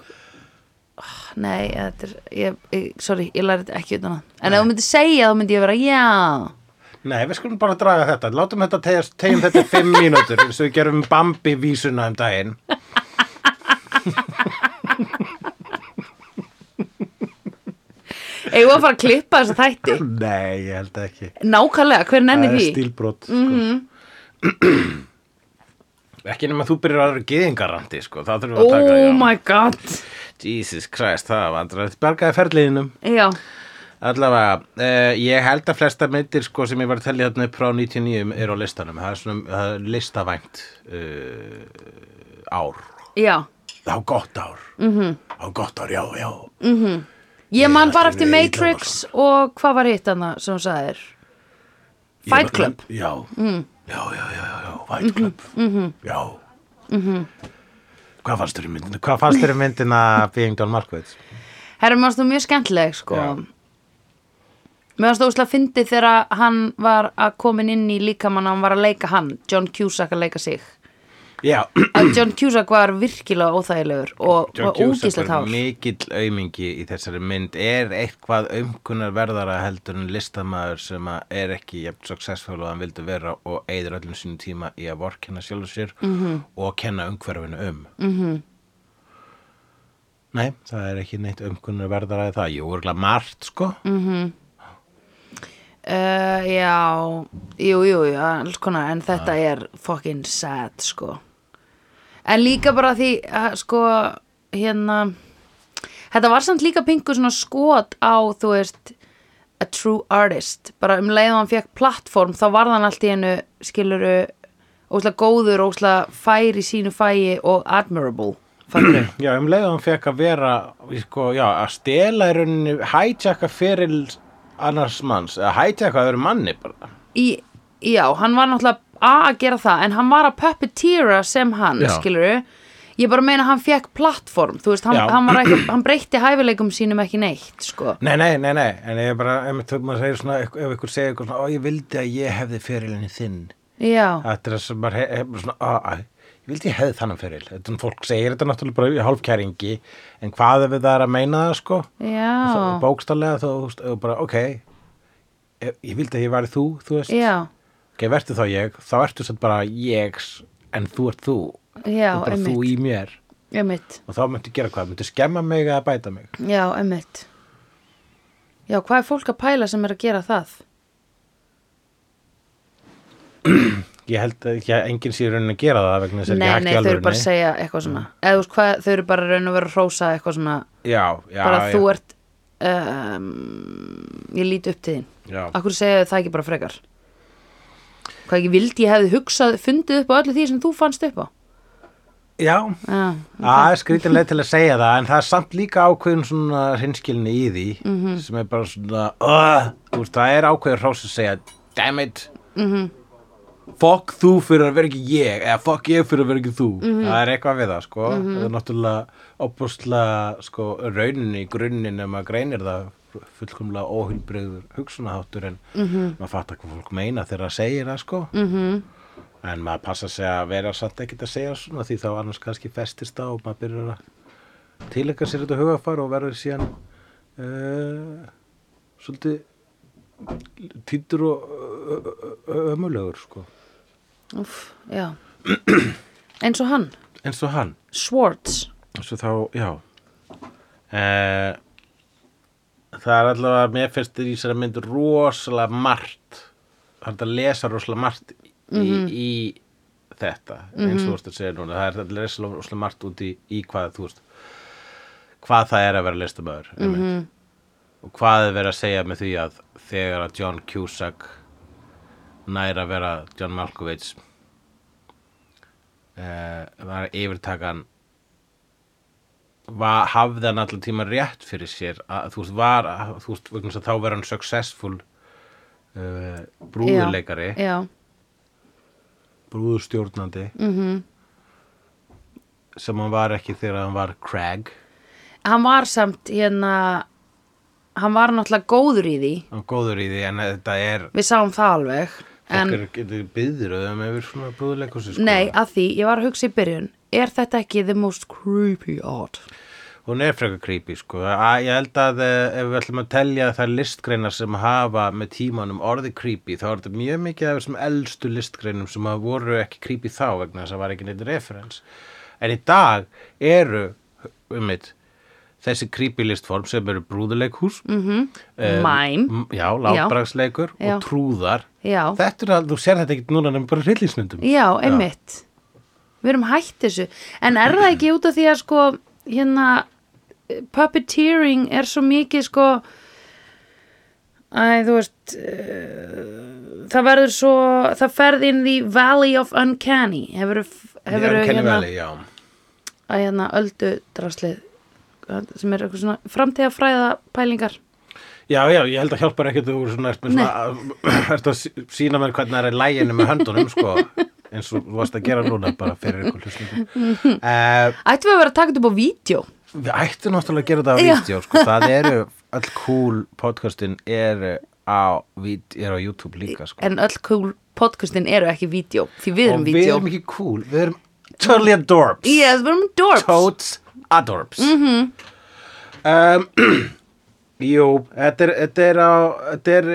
S2: oh, Nei, þetta er ég, ég, Sorry, ég læri þetta ekki utan að En ef þú myndir segja, þá myndi ég vera Já,
S1: Nei, við skulum bara draga þetta. Látum þetta tegjast, tegjum þetta í fimm mínútur eins og við gerum Bambi vísuna um daginn.
S2: eigum við að fara að klippa þessa þætti
S1: Nei, ég held ekki.
S2: Nákvæmlega, hver nenni
S1: Það er
S2: því? Mhm.
S1: stílbrot. Sko. ekki nema þú byrjar aðra gyðingarandi, sko. Það þurfum við að taka,
S2: Oh
S1: já.
S2: my god
S1: Jesus Christ, það var andra. Þetta bergaði ferliðinum.
S2: Já,
S1: Allavega, uh, ég held að flesta myndir sko, sem ég var að tellja þarna upp frá 99 er á listanum. Það er svona það er listavænt uh, ár.
S2: já
S1: Á gott ár. Mm
S2: Mhm.
S1: -hmm. Á gott ár, já, já.
S2: Mm, Ég man bara eftir
S1: Nei,
S2: Matrix og hvað var hitt hana sem hún sagðir? Fight Club Mhm,
S1: Ég, já. Mm. já, já, já, já, já, Fight Club. Já. Hvað fannst þér í myndina? Hvað fannst þér í myndina Being Don Markowitz?
S2: Herra, mér varst þú mjög skemmtileg sko
S1: Já.
S2: Mér varst þú óslega fyndið þegar hann var að komin inn í líkamann að hann var að leika hann, John Cusack að leika sig
S1: Já,
S2: að John Cusack var virkilega óþægilegur og
S1: John
S2: var
S1: Cusack
S2: ógíslega
S1: er
S2: tár
S1: mikill aumingi í þessari mynd er eitthvað aumkunar verðara heldur en listamaður sem að er ekki jafn successful og hann vildi vera og eigður öllum sínum tíma í að vorkenna sjálfur sér -hmm. og kenna umhverfinu um mm -hmm. Nei, það er ekki neitt aumkunar verðara í það, jú, örgulega margt sko mm -hmm.
S2: uh, Já, jú, jú, jú, alls konar en þetta er fucking sad sko En líka bara því, að, sko, hérna Þetta var samt líka pingu svona skot á, þú veist a true artist, bara um leið og hann fekk plattform, þá varð hann allt í hennu skiluru, óslega góður óslega fær í sínu fæi og admirable, fattur
S1: Já, um leiðum fekk að vera sko, já, að stela í rauninni hijacka fyrir annars manns, að hijacka að vera manni bara
S2: í, já, hann var náttúrulega a að gera það, en hann var að puppeteera sem hann,
S1: Já.
S2: já. ég bara meina að hann fekk plattform, þú veist hann,
S1: Já.
S2: hann, var ekki, hann breytti hæfileikum sínum ekki neitt sko.
S1: Nei, nei, nei, nei, en ég er bara, ef maður segir svona, ef ykkur segir eitthvað svona, ó, ég vildi að ég hefði fyrirlinni þinn.
S2: já,
S1: Þetta er þess að maður he- hefur svona, á, á, ég vildi ég hefði þannig fyrir. Þetta er fólk segir þetta náttúrulega bara í hálfkæringi, en hvað ef það er að meina það, sko?
S2: já
S1: Bókstallega þú, veist, og bara, ok, ég, ég vildi að ég væri þú, þú veist.
S2: já,
S1: Ok, vertu þá ég, þá ertu satt bara ég, en þú ert þú.
S2: já,
S1: þú ert bara þú
S2: emmitt
S1: í mér.
S2: emmitt,
S1: Og þá myndu gera hvað, myndu skemma mig eða bæta mig.
S2: já, emmitt já, hvað er fólk að pæla sem er að gera það
S1: ég held að ekki að enginn sé í rauninni að gera það vegna þess að
S2: nei,
S1: það er
S2: nei,
S1: ekki
S2: þau
S1: hægt í
S2: eru bara að
S1: alvörunni
S2: segja eitthvað
S1: Mm.
S2: svona eða þú veist hvað, þau eru bara að raun og vera að hrósa eitthvað svona,
S1: já, já,
S2: bara
S1: já,
S2: þú ert um, ég lít upp til þín
S1: já.
S2: akkur segja þau það ekki bara frekar hvað ekki vildi ég hefði hugsað fundið upp á öllu því sem þú fannst upp á
S1: já.
S2: já,
S1: að skrítilega til að segja það en það er samt líka ákveðin svona hinskilni í því
S2: Mhm.
S1: sem er bara svona uh, úr, það er ákveðin hrós að segja damn it
S2: Mhm.
S1: -hmm. fuck þú fyrir að vera ekki ég eða fuck ég fyrir að vera ekki þú
S2: Mhm.
S1: það er eitthvað við það sko það er náttúrulega opusla sko rauninni í grunninn ef maður greinir það fullkomlega óhulbreyður hugsunaháttur en
S2: Mhm.
S1: -hmm. maður fattar hvað fólk meina þegar það segir það sko En maður passa sig að vera samt ekkert að segja svona því þá annars kannski festist það og maður byrjar að tilaka sér þetta hugafar og verður síðan uh, svolítið týndur og ö- ö- ö- ömulegur sko.
S2: Úff, já eins og hann,
S1: Eins og hann.
S2: Swartz
S1: Eins og þá, já. Uh, það er allavega, mér finnst þér í sér að mynd rosalega margt, það er að lesa rosalega margt í, í þetta, eins og þú veist að segja núna, það er að lesa rosalega margt út í, í hvað þú veist, hvað það er að vera listamöður, mm
S2: Mhm.
S1: -hmm. og hvað er verið að segja með því að þegar að John Cusack nær að vera John Malkovich, eh, var yfirtakan var, hafði hann allan tíma rétt fyrir sér að, þú veist, var, að, þú veist, vegna þess að þá verður hann successful uh, brúðuleikari
S2: já,
S1: brúðustjórnandi mm
S2: Mhm.
S1: -hmm. sem hann var ekki þegar hann var Craig
S2: hann var samt hérna hann var náttúrulega góður í því
S1: hann var góður í því en þetta er
S2: við sáum það alveg en,
S1: fólk er getur byður um yfir svona brúðuleikursi sko.
S2: nei, að því, ég var að hugsa í byrjun er þetta ekki the most creepy odd
S1: hún er frekar creepy sko að, ég held að eh, ef við ætlum að telja þær listgreinar sem hafa með tímanum orði creepy þá er þetta mjög mikið af þessum eldstu listgreinum sem að voru ekki creepy þá vegna þess að var ekki neitt referens en í dag eru um mitt þessi creepy listform sem eru brúðuleikhús mm -hmm.
S2: Mhm. Mime.
S1: já, látbragsleikur
S2: Já.
S1: og trúðar
S2: já,
S1: þetta er að þú sér þetta ekki núna nefnum bara hryllingsmyndum
S2: já, einmitt við erum hætt þessu en er það ekki út af því að sko hérna, puppeteering er svo mikið sko Æ, þú veist, uh, það verður svo, það ferð inn the Valley of Uncanny, hefur, hefur
S1: Uncanny
S2: hérna,
S1: Valley, já.
S2: að hérna öldu draslið sem er eitthvað svona framtíðafræða pælingar
S1: Já, já, ég held að hjálpar ekkert þú svona, ert, með svona, ert að sí- sína mér hvernig það er læginu með höndunum sko, eins og þú varst að gera núna bara fyrir ykkur
S2: Mhm.
S1: hlustningum uh,
S2: Ættum við að vera að taka þetta upp á vídeo
S1: Við ættum náttúrulega að gera þetta á
S2: Já.
S1: vídeo sko, það eru all cool podcastin eru á, vít- eru á YouTube líka sko.
S2: en öll cool podcastin eru ekki vídeo því við
S1: og
S2: erum
S1: við
S2: vídeo
S1: erum ekki cool, við erum totally adorbs
S2: Yes, við erum dorps
S1: Toads Adorbs mm -hmm. um, Jú, þetta er, þetta er á þetta er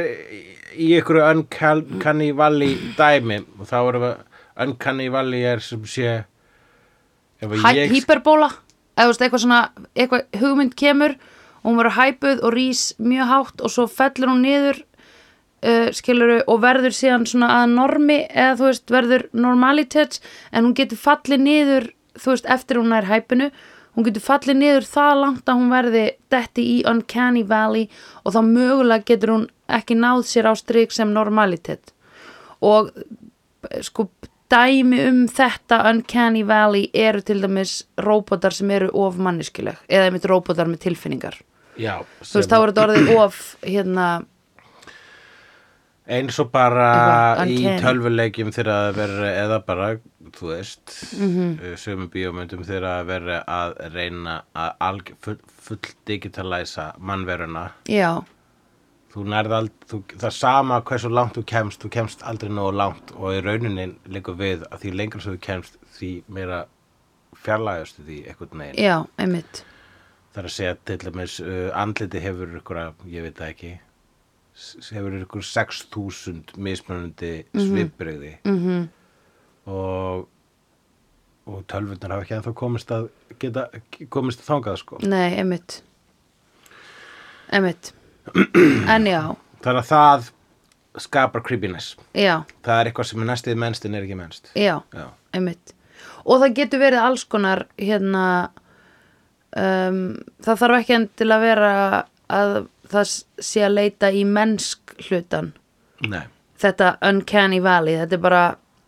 S1: í ykkur Uncanny Valley dæmi og þá erum við Uncanny Valley er sem sé ef að
S2: Hæ- Hyperbóla, eða þú veist eitthvað svona eitthvað hugmynd kemur og hún verður hæpuð og rís mjög hátt og svo fellur hún niður uh, skiluru og verður síðan svona að normi eða þú veist verður normalitet en hún getur fallið niður þú veist eftir hún er hæpinu hún getur fallið niður það langt að hún verði detti í Uncanny Valley og þá mögulega getur hún ekki náð sér á strik sem normalitet og eh, sko dæmi um þetta Uncanny Valley eru til dæmis robotar sem eru of manniskileg eða einmitt robotar með tilfinningar
S1: já,
S2: þú veist,
S1: sem-
S2: þá er þetta orðið of hérna,
S1: eins og bara
S2: Eitthvað
S1: í
S2: uncanny.
S1: tölvuleikjum þegar að vera eða bara, þú veist mm
S2: Mm-hmm.
S1: -hmm. sömu bíómyndum þegar að vera að reyna að alg, full, full digitalæsa mannveruna
S2: já,
S1: þú nærð aldrei, þú, það sama hversu langt þú kemst, þú kemst aldrei nógu langt og í rauninni liggur við að því lengra sem þú kemst, því meira fjarlægastu því einhvern veginn.
S2: já, einmitt
S1: Það er að segja til dæmis, uh, andliti hefur ykkur að, ég veit það ekki, s- hefur ykkur 6.000 mismunandi svipbrigði -hmm. og, og tölvundar hafa ekki ennþá komist að geta, komist að þangað sko.
S2: nei, einmitt einmitt en já,
S1: þannig að það skapar creepiness
S2: já,
S1: það er eitthvað sem er næstið mennst en er ekki mennst
S2: já,
S1: já,
S2: einmitt og það getur verið alls konar hérna um, það þarf ekki endilega að vera að það sé að leita í mennsk hlutan
S1: nei,
S2: þetta uncanny valley, þetta er bara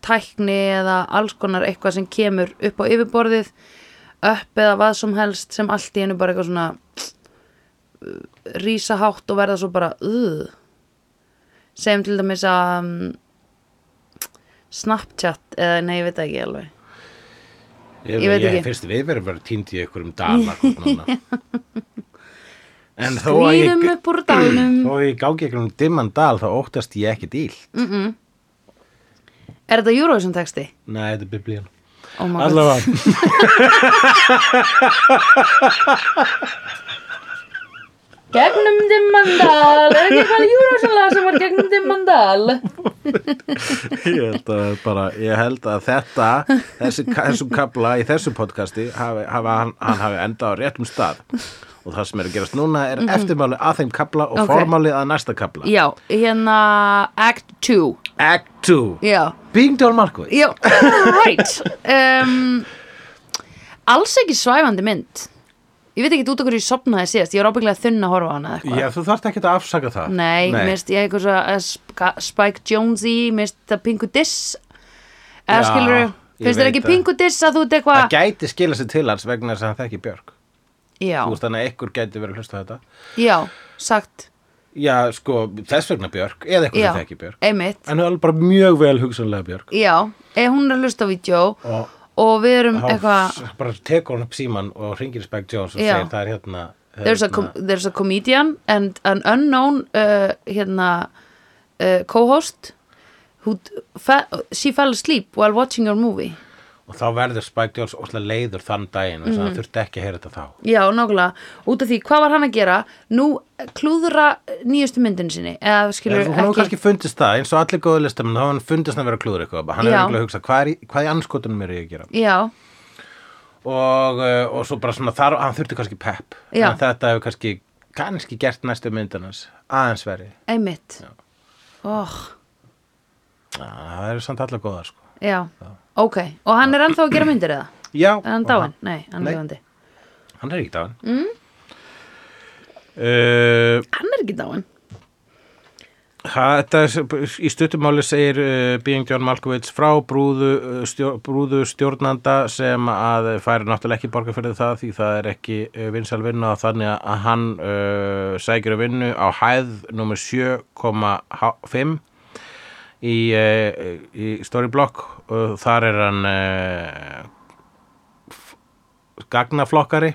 S2: tækni eða alls konar eitthvað sem kemur upp á yfirborðið upp eða hvað sem helst sem allt í einu bara eitthvað svona uh, rísa hátt og verða svo bara uh. segjum til dæmis að um, Snapchat eða nei, ég veit það ekki alveg
S1: ég,
S2: Ég veit
S1: ég
S2: ekki.
S1: finnst við verið bara týnd í einhverjum dala en þó að
S2: Skrýðum
S1: ég
S2: upp úr dánum
S1: þó að ég gangi einhverjum dimman dal þá óttast ég ekki dýl
S2: Er þetta Eurovision texti?
S1: nei, þetta er biblíun
S2: Oh my god.
S1: allavega
S2: Gegnum dimmandal Er ekki eitthvað Eurovision lag sem var gegnum dimmandal?
S1: ég held að, bara, ég held að þetta þessi, þessu kapla í þessu podcasti hafi, hafi, hann, hann hafi endað á réttum stað og það sem er að gerast núna er eftirmáli að þeim kapla og
S2: Ok.
S1: formáli að næsta kapla
S2: Já, hérna Act 2
S1: Act 2
S2: Já,
S1: Bingdól Markovits
S2: já, right um, Alls ekki svæfandi mynd Ég veit ekki út okkur ég sopnaði síðast Ég var ábygglega þunn að horfa á hana eða eitthvað
S1: Já, þú þarft ekki að afsaka það
S2: Nei, mér finnst ég eitthvað svo að Sp- Spike Jonze, mér finnst það Pingu Diss eða
S1: Já,
S2: skilur
S1: ég
S2: finnst það
S1: veit
S2: ekki
S1: það.
S2: Pingu Diss að þú ert
S1: Það
S2: eitthvað
S1: gæti skila sig til hans vegna þess að hann þekki Björk
S2: Já,
S1: Þú veist þannig að ykkur gæti verið að hlusta á þetta
S2: já, sagt
S1: Já, sko, þess vegna Björk eða eitthvað
S2: Já,
S1: sem þekki Björk
S2: einmitt
S1: En hún er alveg bara mjög vel hugsanlega Björk
S2: Já, eða hún er að hlusta á vídeo
S1: Og
S2: og við erum
S1: þá
S2: eitthvað
S1: s- bara tekur hún upp síman og ringir Spike Jones og
S2: Já.
S1: segir það er hérna
S2: there's a, com there's a comedian and an unknown uh, hérna uh, co-host who fe she fell asleep while watching your movie
S1: og þá verður Spike Jones óslega leiður þann daginn mm -hmm.
S2: Mhm.
S1: hann þurfti ekki að heyra þetta þá
S2: Já, nákvæmlega, út af því hvað var hann að gera nú eh, klúðra nýjustu myndin sinni eða skilur
S1: En hún hefur
S2: ekki
S1: kannski fundist það, eins og allir góðu listamenn þá hefur hann fundist hann vera að klúður eitthvað hann
S2: Já.
S1: hefur ekki að hugsa hvað, er, í- hvað í anskotunum er ég að gera
S2: Já,
S1: og, uh, og svo bara svona þar hann þurfti kannski pep
S2: Já.
S1: en þetta hefur kannski, kannski gert næstu myndinans aðeins verið
S2: einmitt Oh, Óh,
S1: Já, það eru samt allar góðar sko
S2: já, ok og hann er ennþá að gera myndir eða?
S1: Já,
S2: Er hann
S1: og
S2: dáinn? Nei, hann
S1: Nei.
S2: er lifandi
S1: hann er ekki dáin mm.
S2: Mm.
S1: uh,
S2: Hann er ekki dáinn
S1: Ha, Þetta er, í stuttumáli segir uh, Being John Malkovich frá brúðu, uh, stjór, brúðu stjórnanda sem að færi náttúrulega ekki borga fyrir það því það er ekki uh, vinsal vinna og þannig að hann uh, sækir að vinnu á hæð nummer 7,5 í, uh, í storyblock og þar er hann uh, gagnaflokkari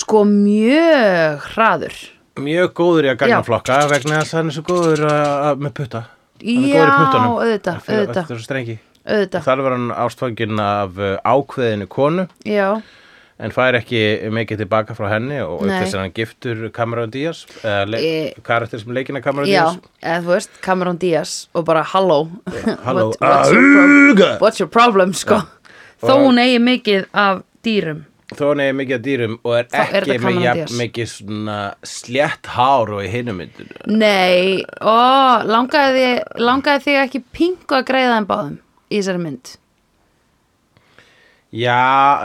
S2: Sko mjög hraður
S1: mjög góður í að gagnaflokka vegna þess að hann er svo góður að, að, með putta Hann er
S2: Já,
S1: góður í puttunum.
S2: auðvitað,
S1: Hann fyrir-
S2: auðvitað.
S1: Þetta er svo strengi.
S2: auðvitað
S1: Þar var hann ástfangin af uh, ákveðinu konu
S2: Já,
S1: en fær ekki mikið tilbaka frá henni og
S2: Nei.
S1: upp þess að hann giftur Cameron Diaz eða le-
S2: Ég-
S1: karakter sem leikina Cameron
S2: já,
S1: Diaz
S2: eða þú veist Cameron Diaz og bara halló
S1: Halló,
S2: What- what's, your prob-
S1: auga!
S2: what's your problem sko Þó
S1: Og-
S2: hún eigi mikið af dýrum
S1: Þó hann er mikið að dýrum og er
S2: Þá er
S1: ekki
S2: þetta
S1: með
S2: Cameron
S1: jafn
S2: Diaz.
S1: mikið svona slétt hár og í hinum myndinu
S2: Nei, ó, langaði, þig- langaði þig ekki pingu að greiða þeim báðum í þessari mynd
S1: Já,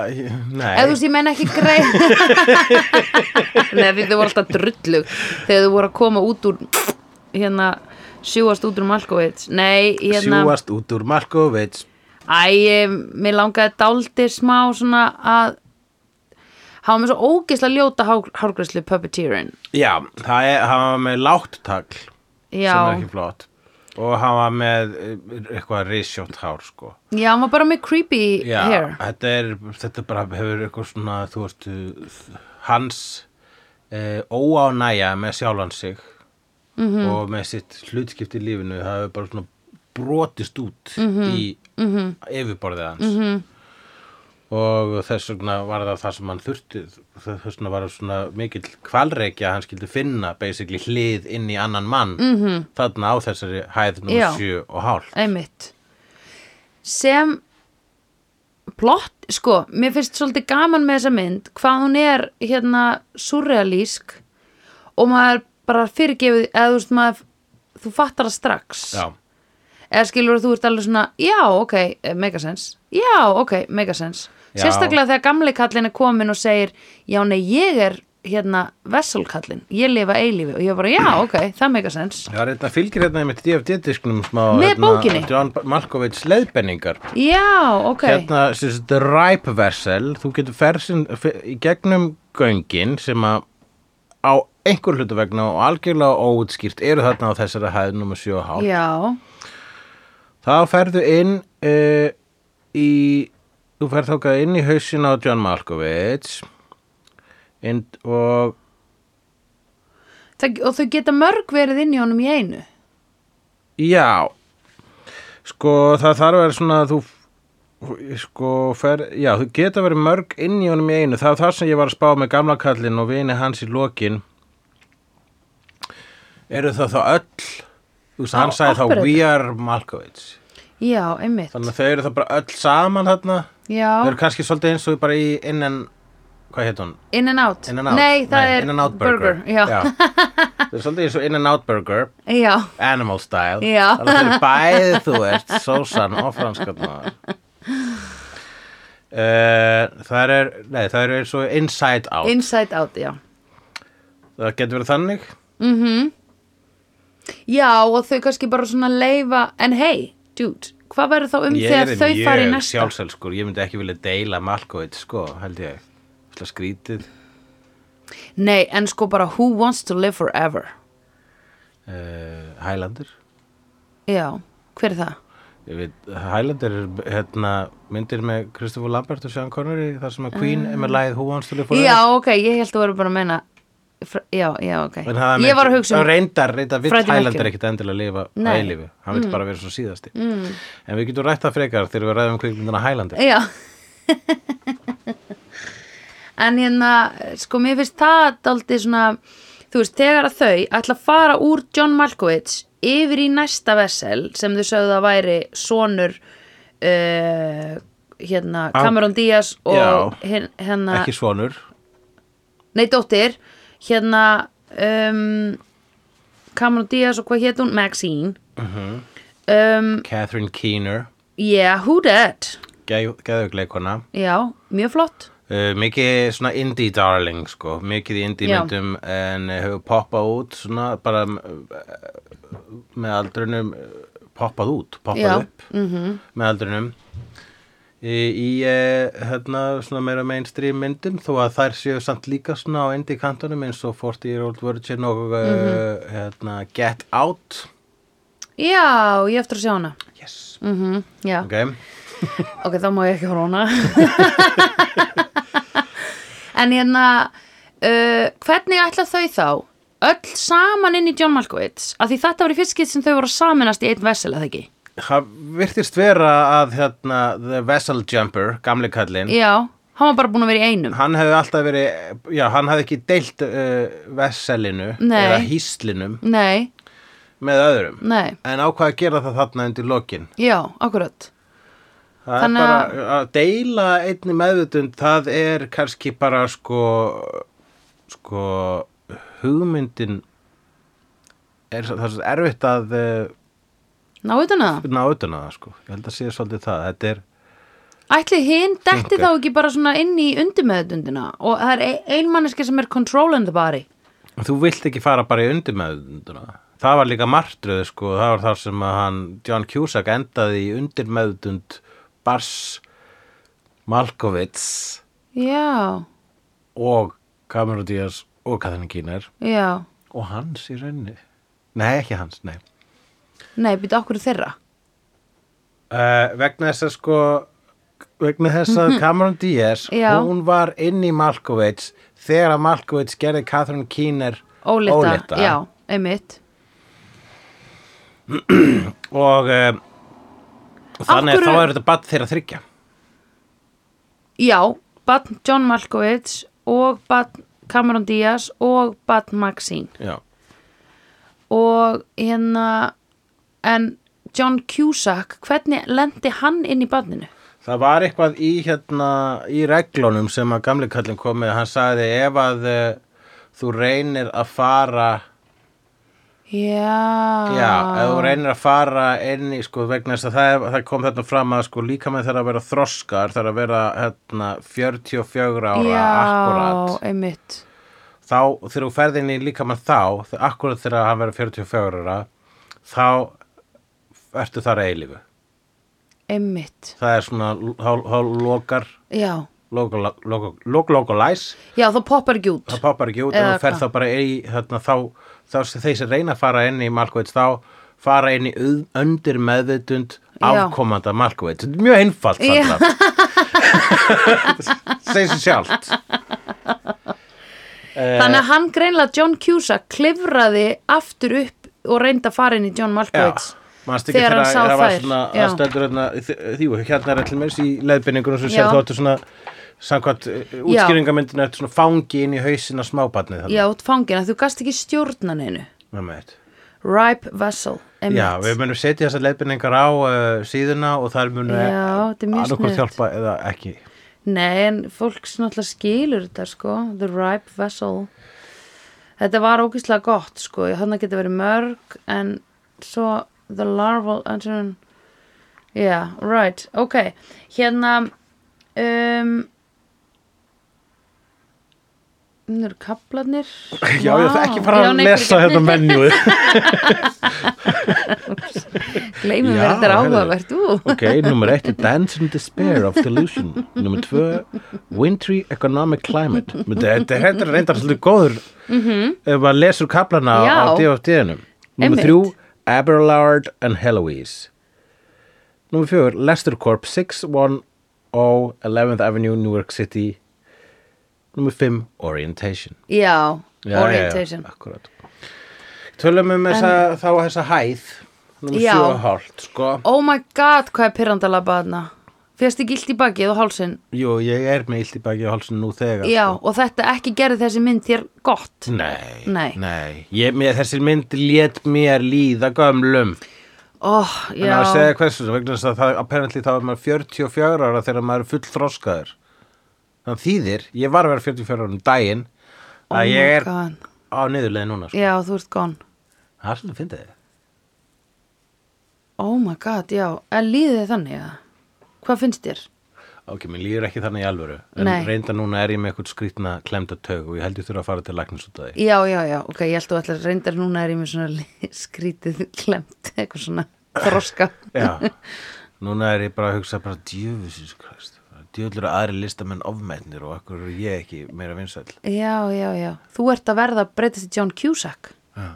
S1: nei
S2: Eða þú veist, ég menn ekki greið Nei, því þau voru alltaf drullug Þegar þau voru að koma út úr Hérna, sjúast út úr Malkovits Nei, hérna
S1: Sjúast út úr Malkovits
S2: Æ, ég- mér langaði dálítið smá svona að hafa með svo ógeðslega ljóta hár, hárgræslu puppeteerin
S1: Já, það er, hann var með látt tagl sem er
S2: Já,
S1: ekki flott og hann var með eh, eitthvað risjótt hár sko
S2: já, hann var bara með creepy
S1: Já,
S2: hair
S1: þetta er, þetta bara hefur eitthvað svona, þú veist, uh, hans eh, óánæja með sjálfan sig -hmm. og með sitt hlutskipti í lífinu, það hefur bara svona brotist út í -hmm. yfirborðið hans. -hmm. Og þess vegna var það það sem hann þurfti, þess vegna var það svona mikill kvalreikja að hann skildi finna basically hlið inn í annan mann mm -hmm. þarna á þessari hæð nú
S2: Já.
S1: sjö og hálf.
S2: Einmitt Sem plott, sko, mér finnst svolítið gaman með þessa mynd hvað hún er hérna surrealísk og maður bara fyrirgefið eða þú veist maður þú fattar það strax
S1: já,
S2: eða skilur þú ert alveg svona já, ok, eh, make a sense já, ok, make a sense
S1: Já.
S2: sérstaklega þegar gamli kallin er komin og segir já, nei, ég er hérna vesselkallin, ég lifa eilífi og ég bara, já, ok, það make a sense
S1: það er þetta fylgir hérna með DFD-disknum smá
S2: Með
S1: hérna,
S2: bókinni?
S1: John Malkovich leiðbenningar
S2: já, ok,
S1: hérna, sem sagt, ripe vessel þú getur fersin í gegnum göngin sem að á einhver hlutu vegna og algjörlega óutskýrt eru þarna á þessari hæð nummer 7 og hálf
S2: já
S1: þá ferðu inn uh, í þú ferð þókað inn í hausin á John Malkovich inn, og
S2: Það, og þau geta mörg verið inn í honum í einu
S1: Já, sko það þarf að vera svona að þú sko fer, já þú geta verið mörg inn í honum í einu, það er það sem ég var að spá með gamla kallinn og vini hans í lokin eru það þá öll þú veist,
S2: Á,
S1: hann sagði þá
S2: akkurat.
S1: We are Malkovich
S2: já, einmitt
S1: þannig að þau eru það bara öll saman þarna þau
S2: já,
S1: eru kannski svolítið eins og bara í innan hvað heit hún?
S2: in and out,
S1: In and out?
S2: nei, það er
S1: In and Out Burger,
S2: já, já,
S1: þau eru svolítið eins og In and Out Burger
S2: já,
S1: Animal Style
S2: Já.
S1: Þannig að þau eru bæði þú ert sósan og franskarnar uh, Það er Nei, það er eins og Inside Out
S2: inside out, já
S1: Það getur verið þannig
S2: Mm-hmm. já, og þau kannski bara svona leifa en hey, dude, hvað verður þá um
S1: Ég er
S2: þegar þau fari í
S1: mjög
S2: næsta
S1: sjálfsælskur Ég myndi ekki vilja deila Malkovit sko, held ég Það skrítið
S2: nei, en sko bara who wants to live forever
S1: uh, Highlander
S2: já, hver er það?
S1: Ég veit, Highlander er hérna, myndir með Christopher Lambert og Sean Connery þar sem að Queen er með lagið Who Wants to Live Forever
S2: Ah. já, ok, ég held að vera bara að meina fr- já, já, ok,
S1: En það
S2: ég var að hugsa um
S1: reyndar, reyndar vill
S2: Freddie
S1: Highlander
S2: Mercury.
S1: ekkit endilega lifa að
S2: Nei.
S1: eilífi hann vill bara vera svo síðasti mm. en við getum rætt það frekar þegar við ræðum kvikmyndina Highlander
S2: Já En hérna, sko, mér finnst það daldið svona, þú veist, þegar að þau ætla að fara úr John Malkovich yfir í næsta vessel sem þau sögðu að væri sonur uh, hérna
S1: Ah,
S2: Cameron Diaz og
S1: já.
S2: hin- hérna,
S1: ekki svonur
S2: nei, dóttir hérna um, Cameron Diaz og hvað hét hún? Maxine
S1: Mhm.
S2: um,
S1: Catherine Keener,
S2: Yeah, who that?
S1: geðugleikona
S2: Já, mjög flott
S1: uh, mikið svona indie darling sko, mikið í indie
S2: Já.
S1: myndum en eh, hefur poppað út svona bara uh, með aldrunum eh, poppað út, poppað
S2: Já, Mhm.
S1: upp -hmm. með aldrunum í, í eh, hérna svona meira mainstream myndum þó að þær séu samt líka svona á indie kantunum eins og 40 Year Old Virgin og mm
S2: Mhm.
S1: hérna, Get Out
S2: Já, ég á eftir að sjá hana
S1: yes,
S2: mm Já,
S1: ok
S2: ok, þá má ég ekki horfa á hana En hérna uh, Hvernig ætla þau þá öll saman inn í John Malkovich af því þetta var í fyrst skýtt sem þau voru að saminast í einn vessel, eða ekki?
S1: það virtist vera að hérna, The Vessel Jumper, gamli kallinn
S2: Já, hann var bara búin að vera í einum
S1: hann hefði alltaf verið, já, hann hefði ekki deilt uh, vesselinu
S2: Nei.
S1: eða hýslinum
S2: Nei,
S1: með öðrum,
S2: nei,
S1: en ákvað að gera það þarna undir lokin.
S2: já, akkurat
S1: Það
S2: Þannig
S1: er
S2: að-
S1: bara, að deila einni meðvutund, það er kannski bara sko, sko, hugmyndin er svo- það er svo erfitt að uh,
S2: Ná utan að það
S1: ná utan að það, sko. Ég held að sé svolítið það, þetta er,
S2: Ætli hinn detti
S1: Þungar.
S2: þá ekki bara svona inn í undirmeðutundina og það er einmanneski sem er controlling the body
S1: Þú vilt ekki fara bara í undirmeðunduna. Það var líka martröð, sko, það var þar sem að hann, John Cusack, endaði í undirmeðund Bars Malkovits
S2: Já,
S1: og Cameron Diaz og Katharina Keener
S2: já
S1: og hans í rauninni. Nei, ekki hans, nei.
S2: Nei, býta okkur þeirra
S1: Uh, vegna þess að sko, vegna þess að Cameron Diaz,
S2: Já.
S1: hún var inn í Malkovits þegar að Malkovits gerði Katharina Keener
S2: Ólita, já, einmitt
S1: og uh, þannig
S2: hverju-
S1: þá er þetta bara þeirra þryggja.
S2: Já, Batn John Malkovich og Batn Cameron Diaz og Batn Maxine
S1: Já.
S2: og hérna en John Cusack hvernig lendi hann inn í batninu?
S1: Það var eitthvað í, hérna, í reglunum sem að gamli kallin kom með, hann sagði ef að eh, þú reynir að fara
S2: Já.
S1: Já, ef
S2: Ah.
S1: þú reynir að fara inn í sko vegna þess að það, það kom þarna fram að sko líka með þarf að vera þroskar, þarf að vera hérna 44 ára
S2: Já,
S1: akkurat.
S2: einmitt.
S1: Þá þegar þú ferð inn í líka með þá, þ- akkurat þegar hann verður 44 ára, þá ertu þar að eilífu.
S2: Einmitt.
S1: Það er svona, þá- þá lokar,
S2: Já.
S1: lokal, lokal, lokal, lokalæs.
S2: Já, þá poppar ekki út.
S1: það poppar ekki út
S2: Eða
S1: en þú ferð
S2: hvað?
S1: þá bara í þarna, þá, þá, þá þeir sem reyna að fara inn í Malkovits þá fara inn í auð- undir meðvitund
S2: Já.
S1: afkomanda Malkovits þetta er mjög einfalt
S2: Já.
S1: þarna segir sér sjálft
S2: Þannig að hann greinlega John Cusack klifraði aftur upp og reyndi að fara inn í John Malkovich.
S1: Manstu ekki
S2: Þegar hann sá
S1: það var
S2: þær,
S1: svona,
S2: já.
S1: það stendur hérna, þ- jú, hérna er allir mérs í leðbynningunum sem sér
S2: Já.
S1: þú áttu svona, samkvæmt eh, útskýringamyndinu, eftir svona fangi inn í hausina smábarnið
S2: Já, út fangina, þú gast ekki stjórnan hennu.
S1: þannig. Já.
S2: Ripe Vessel, einmitt.
S1: Já, við munum setja þessar leiðbendingar á uh, síðuna og þar munum
S2: Já, þetta er mjög
S1: annarkvort
S2: sniðugt.
S1: hjálpa eða ekki.
S2: Nei, en fólk sem alltaf skilur þetta, sko. The Ripe Vessel. Þetta var ógíslega gott, sko. Ég hann að geta verið mörg, en svo The Larval, en Já, right, ok. Hérna, um... Það eru kaplarnir.
S1: Já, ég ætla ekki fara
S2: Já,
S1: að
S2: nei,
S1: lesa hérna
S2: fyrirgefðu.
S1: þetta menjúið.
S2: Gleymum
S1: Já,
S2: við þetta er
S1: heyrðu.
S2: áhugavert, ú.
S1: ok, nummer eitt er Dance in Despair of Delusion. Nummer tvö, Wintry Economic Climate. Men Þetta þetta er reyndar svolítið góður ef maður lesur kaplana á
S2: Mhm. Já.
S1: D.O.D.-num.
S2: Einmitt.
S1: Nummer þrjú, Aberlard and Heloise. Nummer fjögur, Lester Corp 610 11th Avenue, New York City. Nummer fimm, Orientation.
S2: Já,
S1: Já,
S2: orientation.
S1: já, já, akkurat. Tölum um þessa, þá þessa hæð Númer
S2: Já.
S1: sjö og hálft, sko
S2: Oh my god, hvað er pyrrandalaba þarna? Fyrst ekki illt í bakið og hálsin.
S1: Jú, ég er með illt í baki á hálsinn nú þegar
S2: Já, og þetta ekki gerði þessi mynd þér gott.
S1: sko. Nei,
S2: Nei.
S1: Ég, mér, Þessi mynd lét mér líða gömlum
S2: Ó,
S1: En
S2: Oh, já.
S1: að segja hversu, vegna þess að það apparently þá er maður 44 ára þegar maður er full þroskaður Þannig þýðir, ég var að vera 44 ára um daginn
S2: Oh
S1: að
S2: my
S1: ég er
S2: God.
S1: á niðurleið núna sko.
S2: Já, þú ert gone.
S1: Það er svolítið fyndið
S2: Oh my god, já. En líðið þið þannig að? Hvað finnst þér?
S1: Ok, mér líður ekki þannig í alvöru En
S2: Nei.
S1: reynda núna er ég með eitthvað skrýtna klemda taug og ég held ég þurfa að fara til læknis út af því
S2: Já, já, já. Ok, ég held þú ætlar reyndar núna er ég með svona li- skrítið klemt, eitthvað svona þroska.
S1: Já, núna er ég bara að hugsa bara djöfusins kræst Djöfull eru aðri listamenn ofmennir og akkur er ég ekki meira vinsæll
S2: Já, já, já. Þú ert að verða að breytast í John Cusack.
S1: Já.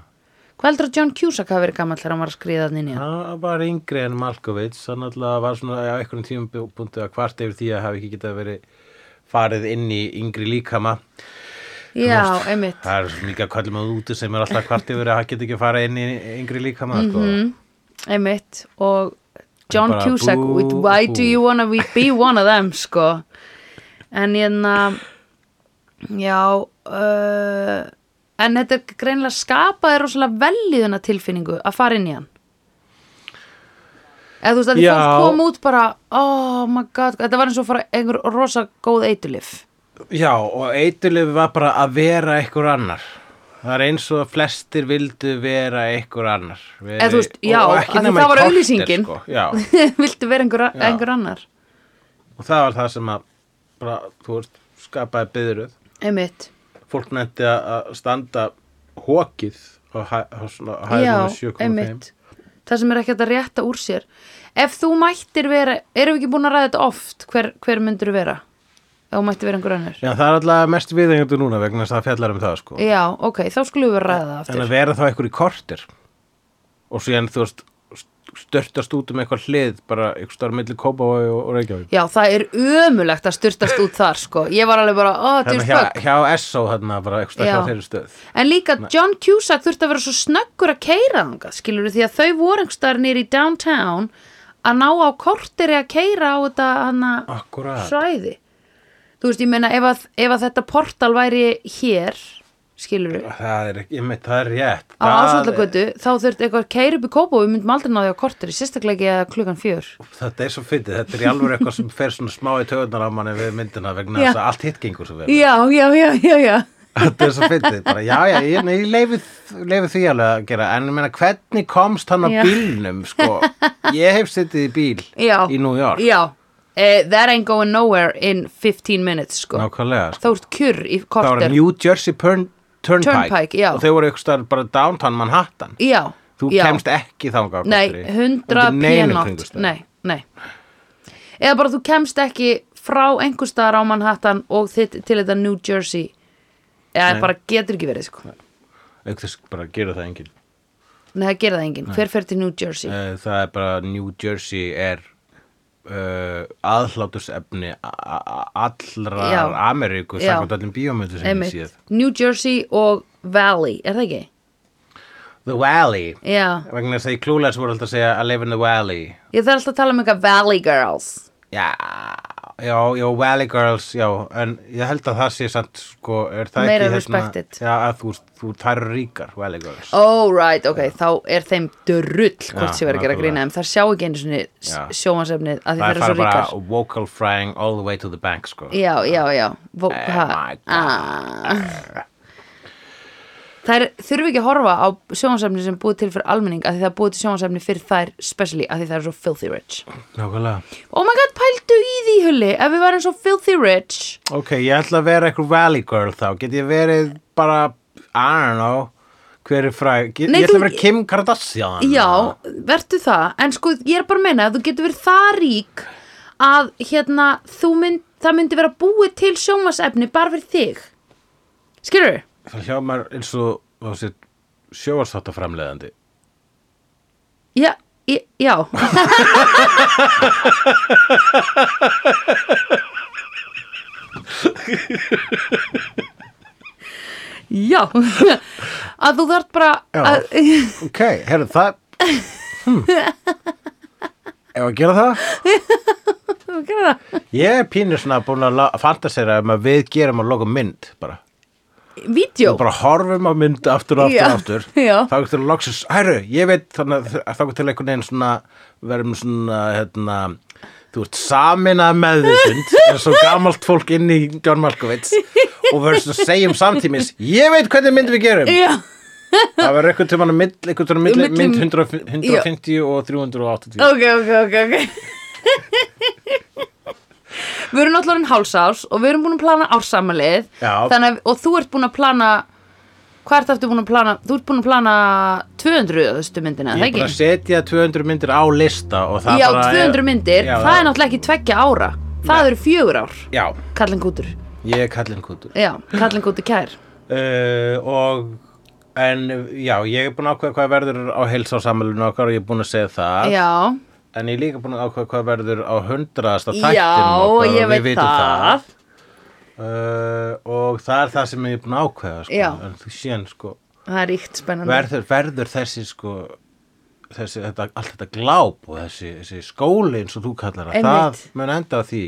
S2: Hvað heldur að John Cusack hafi verið gammal þegar hann var að skriða þannig inn í hann?
S1: Hann var yngri en Malkovits hann alltaf var svona á einhvern tímabúntu að kvart yfir því að hafa ekki getað verið farið inn í yngri líkama
S2: Já, einmitt.
S1: Það er svo mikið að kallum að úti sem er alltaf kvart yfir að hann geti ekki farið inn í yngri líkama mm -hmm.
S2: einmitt og John
S1: Bara
S2: Cusack
S1: bú,
S2: with why
S1: bú.
S2: do you wanna be, be one of them sko en hérna já uh, en þetta er greinilega skapaði rosalega velliðuna tilfinningu að fara inn í hann eða þú veist að því
S1: Já.
S2: fólk kom út bara oh my god, þetta var eins og fara einhver rosa góð eitulif
S1: Já, og eiturlifi var bara að vera einhver annar. Það er eins og að flestir vildu vera einhver annar. Veri,
S2: eða þú veist, já,
S1: og
S2: að
S1: ekki
S2: því
S1: nema í
S2: það var
S1: korter,
S2: auðlýsingin
S1: Sko. Já,
S2: viltu vera einhver, einhver annar
S1: og það var það sem að bara, þú veist, skapaði byðruð.
S2: einmitt
S1: Fólk nefndi að- að standa hókið á hæ- á svona
S2: Já,
S1: hæðunum 7.5.
S2: einmitt Það sem er ekki hægt að rétta úr sér Ef þú mættir vera, erum við ekki búin að ræða þetta oft hver, hver myndur vera? Ef þú mættir vera einhver annar Já,
S1: Já, það er alltaf mest viðengjöndu núna vegna þess að það fjallar um það, sko.
S2: ok, þá skulum við ræða það
S1: En
S2: aftur
S1: að vera þá einhver í kortir og síðan, þú veist, störtast út um eitthvað hlið, bara einhver starf milli Kópavogi og, og Reykjavík.
S2: Já, það er ömulegt að styrtast út þar sko. Ég var alveg bara, ó,
S1: Hérna
S2: djúst
S1: hjá,
S2: bögg
S1: hjá SO hérna bara eitthvað
S2: Já.
S1: hjá þeirri stöð
S2: En líka John Cusack þurfti að vera svo snöggur að keira þangað, skilur því að þau voru einhverstaðar nýri í downtown að ná á korteri að keira á þetta hana,
S1: Akkurat
S2: svæði þú veist, ég meina ef að, ef að þetta portal væri hér skilur við,
S1: Það er, ekki- einmitt, það er rétt
S2: á ásvöldagötu þá þurft eitthvað keir upp í kópa og við myndum aldrei náði á korteri, sérstaklega ekki að klukkan fjör
S1: Þetta er svo fyndið, þetta er í alveg eitthvað sem fer svona smá í töðunar á manni við myndina vegna
S2: Já.
S1: þess að allt hitt gengur svo vel
S2: já, já, já, já, já
S1: þetta er svo fyndið, bara já, já, ég, nei, ég leifi, leifi því alveg að gera, en ég meina, hvernig komst hann á
S2: Já.
S1: bílnum, sko, ég hef sittið í bíl
S2: Já.
S1: í New York,
S2: Já, uh, that ain't going nowhere in 15 minutes sko.
S1: nákvæmlega, sko,
S2: Þá ert kjurr í
S1: það var
S2: korter
S1: New Jersey Pern, Turnpike,
S2: Turnpike, já.
S1: og þau voru ykkur starf bara downtown Manhattan,
S2: Já,
S1: þú
S2: já.
S1: kemst ekki þangað á
S2: Nei,
S1: korteri.
S2: 100
S1: Undir neinum
S2: pjennátt
S1: kringumstæðum.
S2: Nei, nei Eða bara þú kemst ekki frá einhverstaðar á Manhattan og þitt til þetta New Jersey eða
S1: Nei.
S2: bara getur ekki verið sko
S1: auk þess bara gera það enginn
S2: Nei, það gerir það enginn, hver fer til New Jersey
S1: Eh, það er bara New Jersey er uh, aðhlátusefni a- a- allrar
S2: Já.
S1: Ameríku
S2: Já.
S1: þakkaði öllum bíómyndu sem
S2: Einmitt.
S1: ég séð
S2: New Jersey og Valley, er það ekki?
S1: The Valley
S2: Já,
S1: vegna þess að í klúlega voru alltaf að segja I live in the Valley
S2: ég þarf alltaf að tala um eitthvað Valley Girls
S1: já, já, já, Valley Girls já, en ég held að það sé samt sko, er það
S2: Meira
S1: ekki
S2: respected.
S1: já, að þú, þú þær eru ríkar Valley Girls
S2: Oh right, ok, þá er þeim drull hvort
S1: Já,
S2: sem verður að gera
S1: nákvæmlega.
S2: grína en þær sjá ekki einu svona
S1: Já.
S2: sjómasefnið að
S1: það
S2: því þeir
S1: er
S2: eru svo
S1: fara
S2: ríkar
S1: bara vocal frying all the way to the bank sko.
S2: Já, já, já Vó,
S1: Eh,
S2: ha,
S1: my God.
S2: ah. Þær þurfi ekki að horfa á sjómasefni sem búið til fyrir almenning að því það er búið til sjómasefni fyrir þær specially að því það er svo filthy rich
S1: nákvæmlega
S2: Oh my god, pældu í því hulli ef við varum svo filthy rich
S1: Ok, ég ætla að vera eitthvað valley girl þá. Get ég verið bara, I don't know, hver er fræg. Get,
S2: Nei,
S1: ég ætla
S2: þú-
S1: að vera Kim Kardashian.
S2: Já, vertu það, en sko ég er bara að meina að þú getur verið það rík að hérna þú mynd, það myndi vera búið til sjómasefni bara fyrir þig Skilur við?
S1: Það hljómar eins og þú sér sjóvarsáttaframleðandi.
S2: Já, í- já Já, að þú þarft bara
S1: Já.
S2: að,
S1: Ok, herru, það... Hmm. Ef að gera það?
S2: Þú gerir það.
S1: Ég er pínur svona búin að la- fantasera um að við gerum að loka mynd bara.
S2: Vídeó
S1: Og bara horfum á mynd aftur og aftur
S2: Já,
S1: og aftur.
S2: já.
S1: Þá getur loksins, herru, ég veit þannig að þá getur einhvern veginn svona, verðum svona, hérna, þú ert saminað meðvitund, eins og gamalt fólk inn í John Malkovits og verður svona að segjum samtímis, ég veit hvernig mynd við gerum.
S2: Já,
S1: Það verður einhvern tímann mynd, einhvern tímann mynd,
S2: Milli-
S1: mynd 100, 150 og 380.
S2: ok, ok, ok, ok Við erum náttúrulega orðin hálsárs og við erum búin að plana ársamalið
S1: Já.
S2: Þannig að, og þú ert búin að plana Hvað ert aftur búin að plana? Þú ert búin að plana 200 þústu
S1: Ég
S2: myndina, það
S1: er
S2: ekki?
S1: bara að setja 200 myndir á lista og það
S2: Já,
S1: bara...
S2: 200 myndir,
S1: Já,
S2: það er náttúrulega ekki tveggja ára Það eru fjögur ár,
S1: Já,
S2: kallin kútur
S1: ég er kallinn kútur.
S2: Já, kallin kútur kær
S1: uh, og en já, ég er búin að ákveða hvað verður á heilsásamælunum okkar og ég er búin að segja það
S2: Já,
S1: en ég er líka búin að ákveða hvað verður á hundraðasta
S2: já,
S1: þættinum okkar
S2: ég
S1: og við
S2: veit
S1: vitum það,
S2: það
S1: Uh, og það er það sem ég er búin að ákveða sko.
S2: Já.
S1: en þú séðan sko
S2: Það er ríkt spennandi
S1: verður, verður þessi sko þessi, þetta, allt þetta gláp og þessi, þessi skóli eins og þú kallar það það
S2: Einmitt.
S1: mun enda á því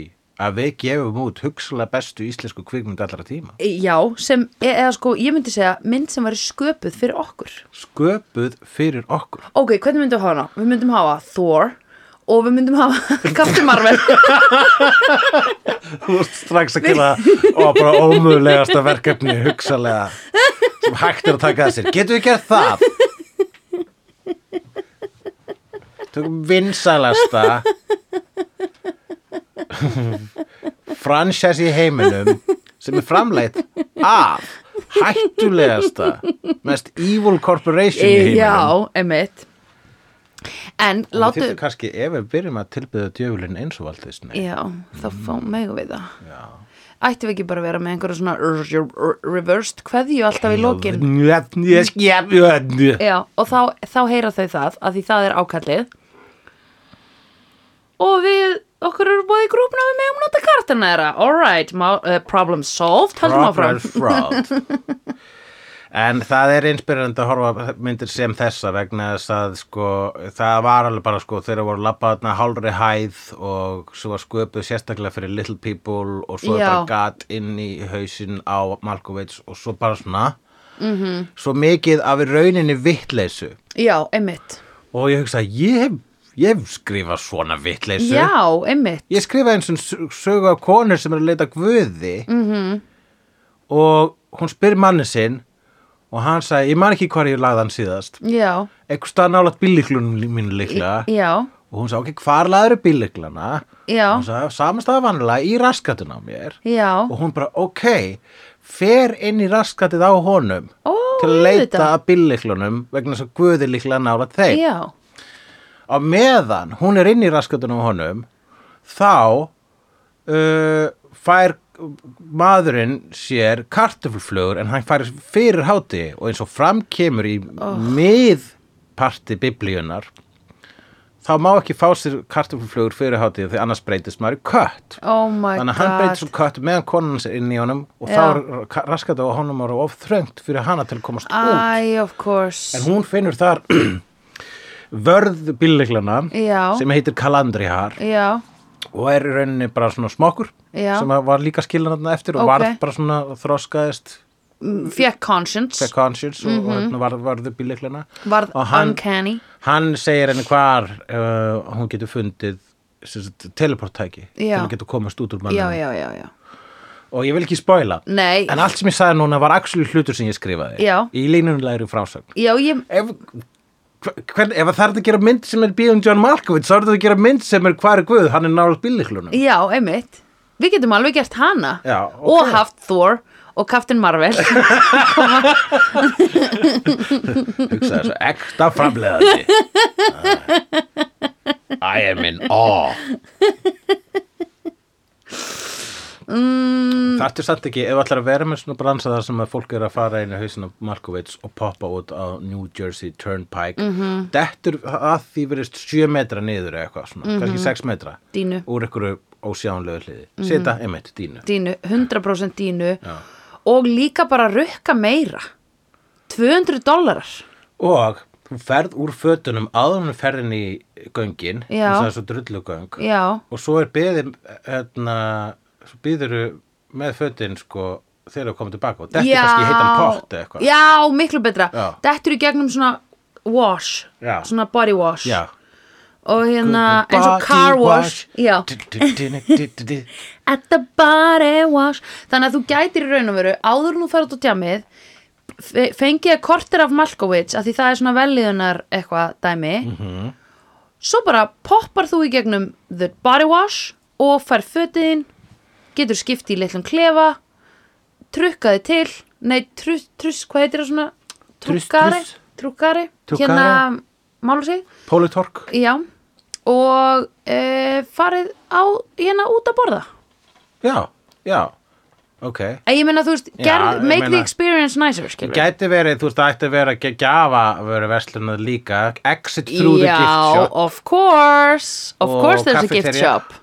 S1: að við gefum út hugsalega bestu íslensku kvikmynd allra tíma
S2: Já, sem, e- eða sko, ég myndi segja mynd sem væri sköpuð fyrir okkur
S1: sköpuð fyrir okkur
S2: Ok, hvernig myndum við hafa hana? Við myndum hafa Thor og við myndum hafa Captain Marvel
S1: Þú ert strax að gera og bara ómögulegasta verkefni hugsalega sem hægt er að taka að sér. Getum við gert það? Tökum vinsælasta franchise í heiminum sem er framleitt af hættulegasta mest evil corporation í heiminum.
S2: Eh, Já, emitt En
S1: Við
S2: látu
S1: þyrftum kannski ef við byrjum að tilbyða djöfulinn eins og allt þessni.
S2: Já, þá fá megum við það
S1: Mm. Já.
S2: Ættum við ekki bara að vera með einhverja svona r- r- reversed kveðju alltaf í lokin
S1: Ég skjæfjöndu.
S2: Já, og þá, þá heyra þau það að því það er ákallið og við okkur eru búið í grúpna við megum nota kartina þeirra alright, uh, problem solved höldum
S1: Proper
S2: áfram
S1: fraud En það er inspirerandi að horfa á myndir sem þessa vegna þess að sko, það var alveg bara sko þeirra voru labbaðna hálfri hæð og svo var sköpuð sérstaklega fyrir little people og svo er
S2: Já.
S1: bara gat inn í hausinn á Malkovits og svo bara svona
S2: Mhm.
S1: -hmm. svo mikið af í rauninni vittleysu
S2: Já, einmitt
S1: og ég hugsa ég, ég hef skrifað svona vittleysu
S2: Já, einmitt Mhm.
S1: ég skrifaði eins og sögu af konur sem eru að leita guði -hmm. og hún spyr manni sinn og hann sagði, ég man ekki hvar ég lagði hann síðast
S2: já,
S1: eitthvað stað nálaðt bílliklunum mínu líklega
S2: já,
S1: og hún sagði, ok, hvar lagður bílliklana
S2: Já.
S1: hún sagði, Oh, samastaða vanlega í raskatun á mér
S2: já.
S1: og hún bara, ok fer inn í raskatið á honum
S2: Ó,
S1: til að leita
S2: auðvitað.
S1: að bílliklunum vegna þess að guði líklega nálaðt þeim
S2: Já,
S1: á meðan hún er inn í raskatunum á honum þá uh, fær maðurinn sér kartöflflugur en hann fær fyrir háti og eins og fram kemur í
S2: Oh.
S1: miðparti biblíunar þá má ekki fá sér kartöflflugur fyrir háti því annars breytist maður í kött
S2: oh my
S1: þannig að hann
S2: god
S1: breytist úr kött meðan konan hans er inn í honum og
S2: Já.
S1: þá er raskatu á honum og of þröngt fyrir hana til að komast út
S2: Æ, of course
S1: en hún finnur þar vörð bílleglana
S2: Já.
S1: sem heitir kalandrihar
S2: Já,
S1: og er í rauninni bara svona smokkur
S2: Já.
S1: sem að var líka skilanaðna eftir og
S2: Ok.
S1: varð bara svona þroskaðist
S2: fekk conscience
S1: fekk conscience
S2: Mhm.
S1: og, og hérna varð, varðu bílleglana
S2: Varð
S1: og hann-
S2: uncanny
S1: hann segir henni hvar uh, hún getur fundið sem sagt, teleporttæki til
S2: Já.
S1: að geta komast út úr
S2: Já,
S1: mannum
S2: já, já, já
S1: og ég vil ekki spoila
S2: Nei,
S1: en allt sem ég sagði núna var actually hlutur sem ég skrifaði
S2: Já.
S1: í línulegri frásögn
S2: já, ég
S1: ef, hvern, ef það er hægt að gera mynd sem er bíðum John Malkovich þá er þetta að gera mynd sem er hvað er Guð, hann er nálaðt bílliklunum
S2: Já, einmitt Við getum alveg gert hana
S1: Já, ok.
S2: Og haft Thor og Captain Marvel
S1: hugsaði þessu ekta framleiðandi I am in awe mm. Það ertu samt ekki ef allar að vera með svona bransa þar sem að fólk er að fara inn í hausinn á Markovits og poppa út á New Jersey Turnpike mm -hmm. dettur að því verist 7 metra niður eða eitthvað svona, kannski 6 metra
S2: Dínu.
S1: úr einhverju ósjánlegu hliði mm -hmm. seta, einmitt, dínu
S2: Dínu, 100% dínu
S1: Já.
S2: Og líka bara rukka meira 200 dólarar
S1: og þú ferð úr fötunum áður en þú ferðin í göngin
S2: Já.
S1: þess að það er svo drullugöng
S2: Já,
S1: og svo er beðið hérna, svo býður með fötin sko þegar þú komið tilbaka og þetta er kannski heitan pott eða eitthvað
S2: Já, miklu betra
S1: Já.
S2: Dettur í gegnum svona wash
S1: Já.
S2: Svona body wash
S1: Já.
S2: Og hérna, eins og car wash, Já,
S1: Já
S2: at the body wash Þannig að þú gætir í raun og veru Áður nú ferð út á djamið fe- Fengið kortir af Malkovich að Því það er svona velliðunar eitthvað dæmi
S1: Mhm.
S2: Svo bara poppar þú í gegnum The body wash Og fær fötin Getur skipt í litlum klefa Trukkaði til Nei, truss, truss hvað heitir það svona?
S1: Truss,
S2: Trukkari
S1: truss.
S2: Trukkari
S1: Trukkari.
S2: Hérna, málu sig
S1: Pólitork
S2: Já, og e, farið á, hérna út að borða
S1: Já, já, ok
S2: Ég meina, þú veist,
S1: Já,
S2: gerð,
S1: ég
S2: make the
S1: meina-
S2: experience nicer, skilur
S1: Gæti verið, þú veist, það ætti að vera að gjafa verið verslunar líka Exit through the gift
S2: Já,
S1: shop
S2: of course, of
S1: Og
S2: course there's a gift
S1: kaffitería.
S2: shop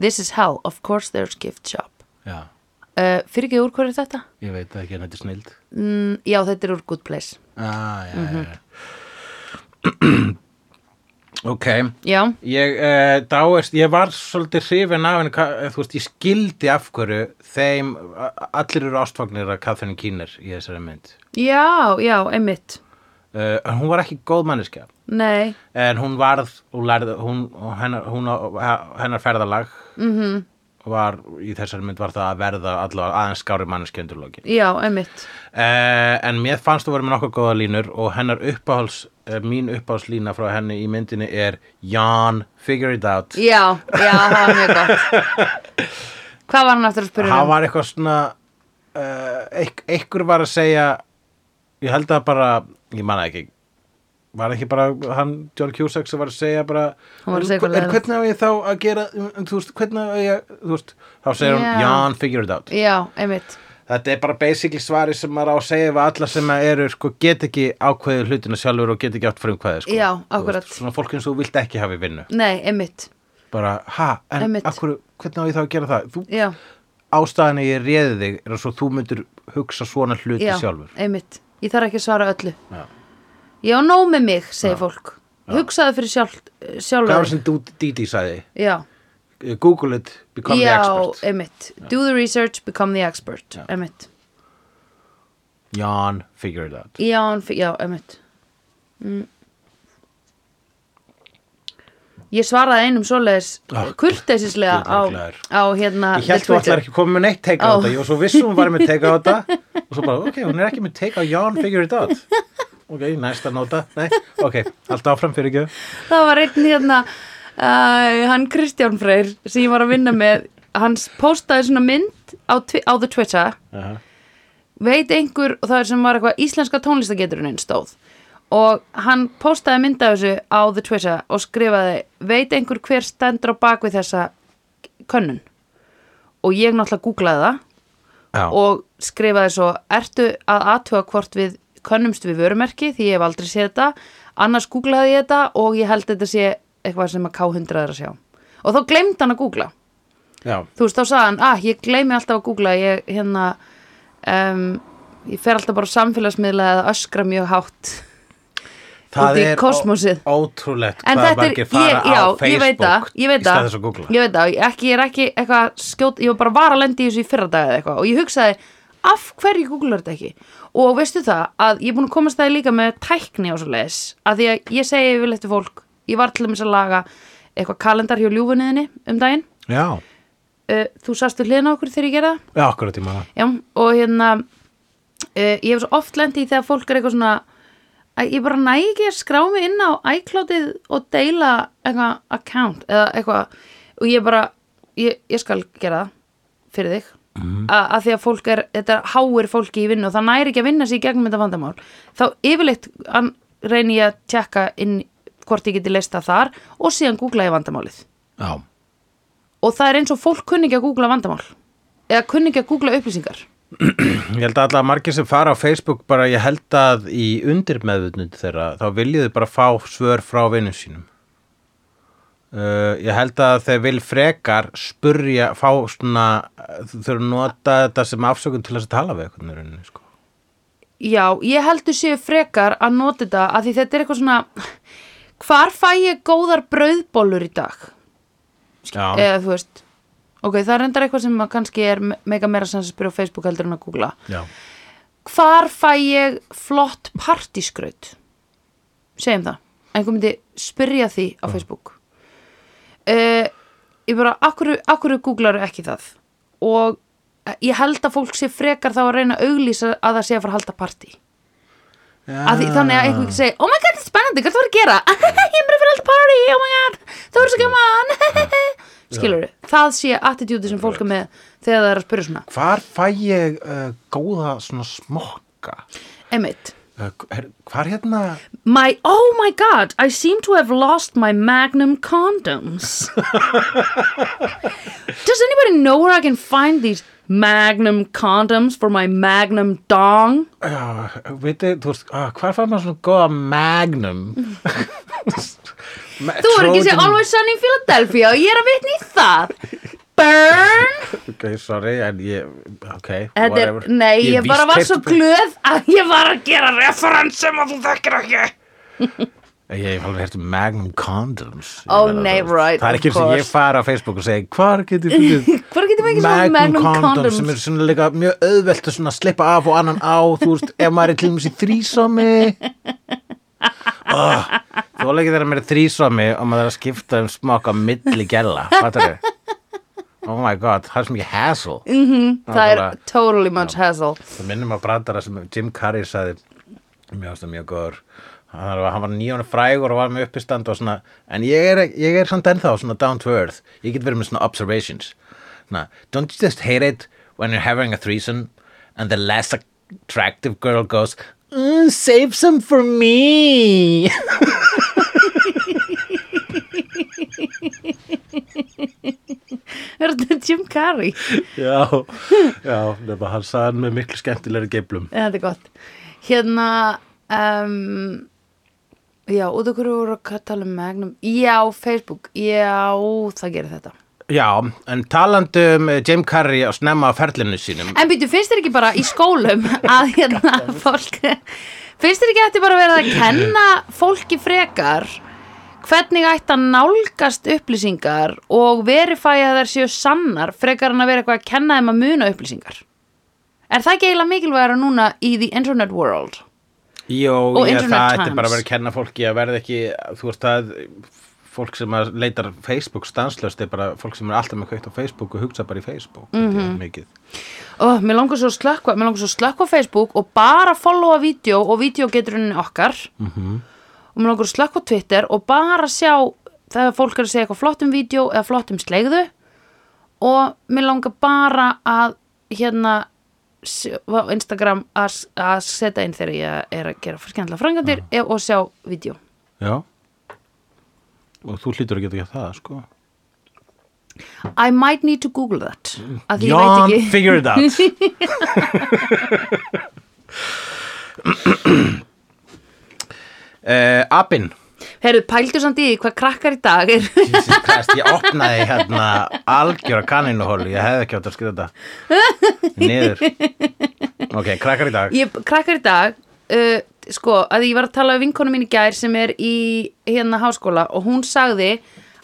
S2: This is hell, of course there's gift shop
S1: Já,
S2: uh, Fyrir ekki úr hverju þetta?
S1: ég veit það ekki en þetta er snild
S2: Mm, já, þetta er úr good place
S1: ah, já, já, já. Ok
S2: Já,
S1: Ég, eh, dáist, ég var svolítið hrifin af henni, Ka- eh, þú veist, ég skildi af hverju þeim, a- allir eru ástfagnir að Catherine Keener í þessari mynd.
S2: já, já, einmitt
S1: Uh, hún var ekki góð manneskja,
S2: Nei,
S1: en hún varð, og lærði, hún, og hennar, hún, á- hennar ferðalag -hmm. var, í þessari mynd var það að verða allavega aðeins skári manneskja undir lokin.
S2: já, einmitt
S1: Uh, en mér fannst þú verið með nokkuð góða línur og hennar uppáhals, uh, mín uppáhalslína frá henni í myndinni er Jan, figure it out.
S2: Já, já, það var mjög gott Hvað var hann aftur að spyrja
S1: hann
S2: um?
S1: var eitthvað svona uh, eik, einhver var að segja ég held að bara ég manna ekki var ekki bara hann John Cusack sem var að segja bara
S2: Hann var að segja eitthvað
S1: en
S2: leiðinlegt."
S1: hvernig á ég þá að gera um, um, þú veist, hvernig á ég þú veist, þá segir
S2: Já.
S1: hún Jan figure it out
S2: Já, einmitt
S1: þetta er bara basically svari sem maður á að segja við alla sem að eru sko get ekki ákveðið hlutina sjálfur og get ekki átt frumkvæði sko.
S2: Já,
S1: Þú
S2: akkurat.
S1: veist, svona fólk eins og þú vilt ekki hafa í vinnu
S2: Nei, einmitt
S1: bara ha en
S2: Einmitt.
S1: akkur, hvernig á ég þá að gera það þú
S2: Já,
S1: ástæðan að ég réði þig er að svo þú myndir hugsa svona hluti
S2: já,
S1: sjálfur
S2: einmitt Ég þarf ekki að svara öllu
S1: Já.
S2: Já, nóg með mig, segir fólk Hugsaðu fyrir sjálf,
S1: hvað
S2: eh,
S1: var
S2: sjálfur
S1: sem Dú- Didi sagði
S2: Já,
S1: Google it, become the
S2: já
S1: expert
S2: einmitt Do the research, become the expert Einmitt
S1: Jan, figure it out
S2: Mm. Já, hann fi- já einmitt Ég svaraði einum svoleiðis
S1: Ah,
S2: kurteisislega
S1: guð,
S2: á,
S1: ég er glaður.
S2: á hérna
S1: Ég held þú allar ekki komið með neitt teika á
S2: Ó.
S1: þetta, ég var svo viss hún var með teika á þetta og svo bara, ok, hún er ekki með teika á Ján figure it out. Ok, næsta nota, nei, ok, allt áfram fyrir ekki.
S2: Það var einn hérna uh, hann Kristján Freyr sem ég var að vinna með hann postaði svona mynd á, twi- á the Twitter
S1: Aha.
S2: veit einhver og það er sem var eitthvað íslenska tónlistageturunin stóð og hann postaði mynd af þessu á the Twitter og skrifaði veit einhver hver stendur á bak við þessa könnun og ég náttúrulega googlaði það
S1: Já,
S2: og skrifaði svo ertu að aðtuga hvort við könnumst við vörumerki því ég hef aldrei séð þetta annars googlaði ég þetta og ég held þetta sé eitthvað sem að K100 er að sjá og þá glemd hann að googla
S1: já,
S2: þú veist þá sagði hann ah, ég gleymi alltaf að googla ég hérna um, ég fer alltaf bara á samfélagsmiðla eða öskra mjög hátt
S1: það
S2: Úti í
S1: er
S2: kosmosið.
S1: ó- ótrúlegt
S2: en
S1: hvað
S2: þetta er,
S1: margir fara
S2: ég, já,
S1: á
S2: ég veit það,
S1: Facebook
S2: ég
S1: í
S2: veit
S1: stað
S2: það,
S1: þess að googla.
S2: ég veit það, ég, ekki, ég er ekki eitthvað skjót, ég var bara var að lendi í þessu í fyrra dag eða eitthvað og ég hugsaði, af hverju googlar þetta ekki? Og veistu það að ég er búin að komast það líka með tækni og svo leis, að því að ég segi yfirleitt við fólk, ég var til þess að laga eitthvað kalendar hjá ljúfunniðinni um daginn,
S1: Já,
S2: uh, þú sastu hliðin á okkur þegar ég gerði það,
S1: já, akkurat í maður.
S2: Já, og hérna uh, ég hef svo oft lendi í þegar fólk er eitthvað svona að ég bara næ ekki að skrá mig inn á iCloudið og deila eitthvað account eða eitthvað og ég bara, ég, ég skal gera það fyrir þig mm. að því að fólk er, þetta háir fólki í vinnu og það næri ekki að vinna sér í gegnum þetta vandamál þá yfirleitt an, reyni ég að tjekka inn hvort ég geti leist það þar og síðan googla ég vandamálið
S1: Já,
S2: og það er eins og fólk kunni ekki að googla vandamál eða kunni ekki að googla upplýsingar
S1: ég held að allar margir sem fara á Facebook bara, ég held að í undirmeðvutnud þeirra, þá viljiðu bara fá svör frá vinnum sínum. Uh, ég held að þeir vil frekar spurja, fá svona, þau þurfa að nota þetta sem afsökun til þess að tala við eitthvað rauninni, sko.
S2: Já, ég heldur séu frekar að nota þetta að því þetta er eitthvað svona hvar fæ ég góðar brauðbólur í dag?
S1: Já,
S2: Eða þú veist Ok, það er endar eitthvað sem að kannski er me- mega meira sem að spyrja á Facebook heldur en að googla
S1: já,
S2: Hvar fæ ég flott partískraut? Segjum það einhver myndi spyrja því á Facebook uh, Ég bara, akkur, akkur googlaru ekki það og eh, ég held að fólk sé frekar þá að reyna að auglýsa að það sé að fara að halda partí
S1: já.
S2: að því, þannig að einhver segi oh my god, þetta er spennandi, hvað þú voru að gera ég er bara fyrir alltaf party, oh my god þú voru svo gaman skilur það sé attitúti sem fólk er með þegar það er að spyrja svona
S1: Hvar fæ ég uh, góða svona smokka?
S2: Einmitt.
S1: Uh, her- hvar hérna?
S2: my, oh my god, I seem to have lost my magnum condoms does anybody know where I can find these magnum condoms for my magnum dong
S1: Já, veitir, þú veist, ah, hvar fær maður svona góða magnum? Ma-
S2: þú voru ekki að segja
S1: Trojan-
S2: Always Sunny in Philadelphia og ég er að vitni í það burn
S1: Ok, sorry, en ég, ok,
S2: Þetta er,
S1: whatever.
S2: nei, ég, bara var svo
S1: vískeypt-
S2: glöð að ég var að gera referens sem að þú þekkir ekki.
S1: Ég hef alveg hértu Magnum Condoms. Ég meina,
S2: Ó, Oh, nei,
S1: þú veist,
S2: right,
S1: Það er
S2: of
S1: ekki sem ég
S2: course.
S1: fara á Facebook og segja, hvar getur fundið
S2: Hvar getum við ekki svona Magnum condoms?
S1: sem er svona líka mjög auðvelt að svona slippa af og annan á, þú veist, ef maður er til dæmis í þrísami. Oh, þú leikir þegar maður er í þrísami og maður er að skipta um smaka milli gæla, fattar þau? Oh my god, það er svo mikið hassle.
S2: Það er
S1: bara-
S2: totally much hassle.
S1: Það minnum að brandara sem Jim Carrey saði mjög ástæð mjög góður hann var, hann var nýjónu frægur og var með uppistand og svona, en ég er, ég er samt ennþá svona down to earth, ég get verið með svona observations svona, don't you just hate it when you're having a threesome and the less attractive girl goes mm, save some for me
S2: Er þetta Jim Carrey?
S1: já, já, nefna hann saði hann með miklu skemmtilegri geiflum
S2: Þetta er gott. Hérna, um, já, út okkur voru að tala um Magnum. Já, Facebook, já, það gerir þetta.
S1: já, en talandum Jim Carrey á snemma á ferlinu sínum
S2: En býtu, finnst þér ekki bara í skólum að hérna fólk finnst þér ekki eftir bara að vera að kenna fólki frekar hvernig ætti að nálgast upplýsingar og verifæja að þær séu sannar frekar en að vera eitthvað að kenna þeim að muna upplýsingar Er það ekki eiginlega mikilvægur núna í the internet world?
S1: Jó,
S2: Og
S1: ég,
S2: internet
S1: það ætti
S2: times.
S1: bara að vera að kenna fólki að verða ekki, þú veist það fólk sem að leitar Facebook stanslöst er bara fólk sem er alltaf með kveikt á Facebook og hugsa bara í Facebook mm
S2: Mhm.
S1: -hmm. mikið
S2: Ó, mér langar svo að slökkva, mér langar svo að slökkva á Facebook og bara followa vídeo og vídeo getur henni okkar -hmm. og mér langar að slökkva á Twitter og bara sjá þegar fólk er að segja eitthvað flott um vídeo eða flott um slegðu og mér langar bara að hérna sjá- á Instagram að, s- að setja inn þegar ég er að gera skemmtilega frangandir og sjá vídeo.
S1: Já og þú hlýtur að geta ekki það sko
S2: I might need to google that að því ég
S1: John,
S2: veit ekki
S1: figure it out uh, Abin
S2: Herru, pældu samt í því hvað krakkar í dag er
S1: Jesus Christ, ég opnaði hérna algjöra kaninuhólu, ég hefði ekki átt að skrifa þetta niður ok, krakkar í dag
S2: ég, krakkar í dag uh, sko, að ég var að tala við vinkonu mín í gær sem er í hérna háskóla og hún sagði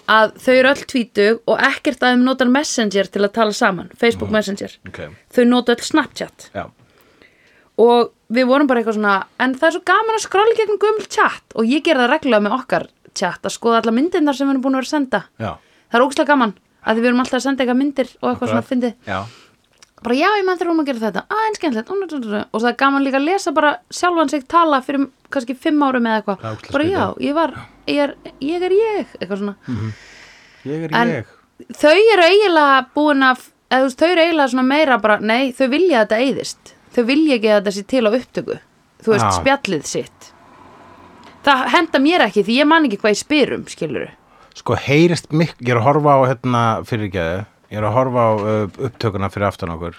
S2: að þau eru öll tvítug og ekkert að þeim notar Messenger til að tala saman, Facebook Messenger
S1: ok,
S2: þau nota öll Snapchat
S1: já,
S2: og við vorum bara eitthvað svona en það er svo gaman að skrála gegnum gömul chat og ég gera það reglulega með okkar chat að skoða alla myndinnar sem við erum búin að vera að senda
S1: já
S2: það er ógslag gaman að því við erum alltaf að senda eitthvað myndir og eitthvað svona fyndið
S1: já,
S2: bara já, ég mann þegar hún að gera þetta að en skemmtilegt Ó, nú, nú, nú, nú. og það er gaman líka að lesa bara sjálfan sig tala fyrir kannski fimm árum eða
S1: Það er
S2: eitthvað
S1: ógeðslega
S2: bara já,
S1: skrítið. Mhm.
S2: ég var, ég er ég, er ég eitthvað svona
S1: ég er
S2: En-
S1: ég
S2: þau eru eiginlega búin að eða þú veist, þau eru eiginlega svona meira bara nei, þau vilja að þetta eyðist þau vilja ekki að þetta sé til á upptöku þú veist,
S1: Já.
S2: spjallið sitt það henda mér ekki því ég man ekki hvað ég spyr um, skilur
S1: sko heyrist mikk, ég er að horfa á hérna fyrirgeðu, ég er að horfa á uh, upptökuna fyrir aftan okkur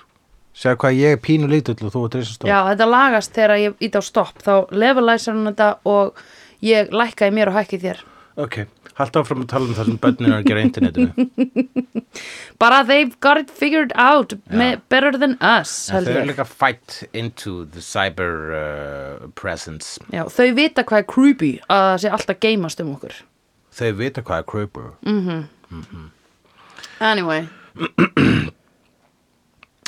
S1: segja hvað ég er pínu lítill og þú er trisastóð
S2: Já, þetta lagast þegar ég ít á stopp þá levelæsar hún þetta og ég lækka í mér og hækki í þér
S1: ok, halda áfram að tala um það sem börnin er að gera á internetinu
S2: bara they've got it figured out me, better than us
S1: En
S2: held
S1: þau eru
S2: ég.
S1: líka fight into the cyber uh, presence
S2: Já, þau vita hvað er creepy að það sé alltaf geimast um okkur
S1: þau vita hvað er creeper
S2: anyway,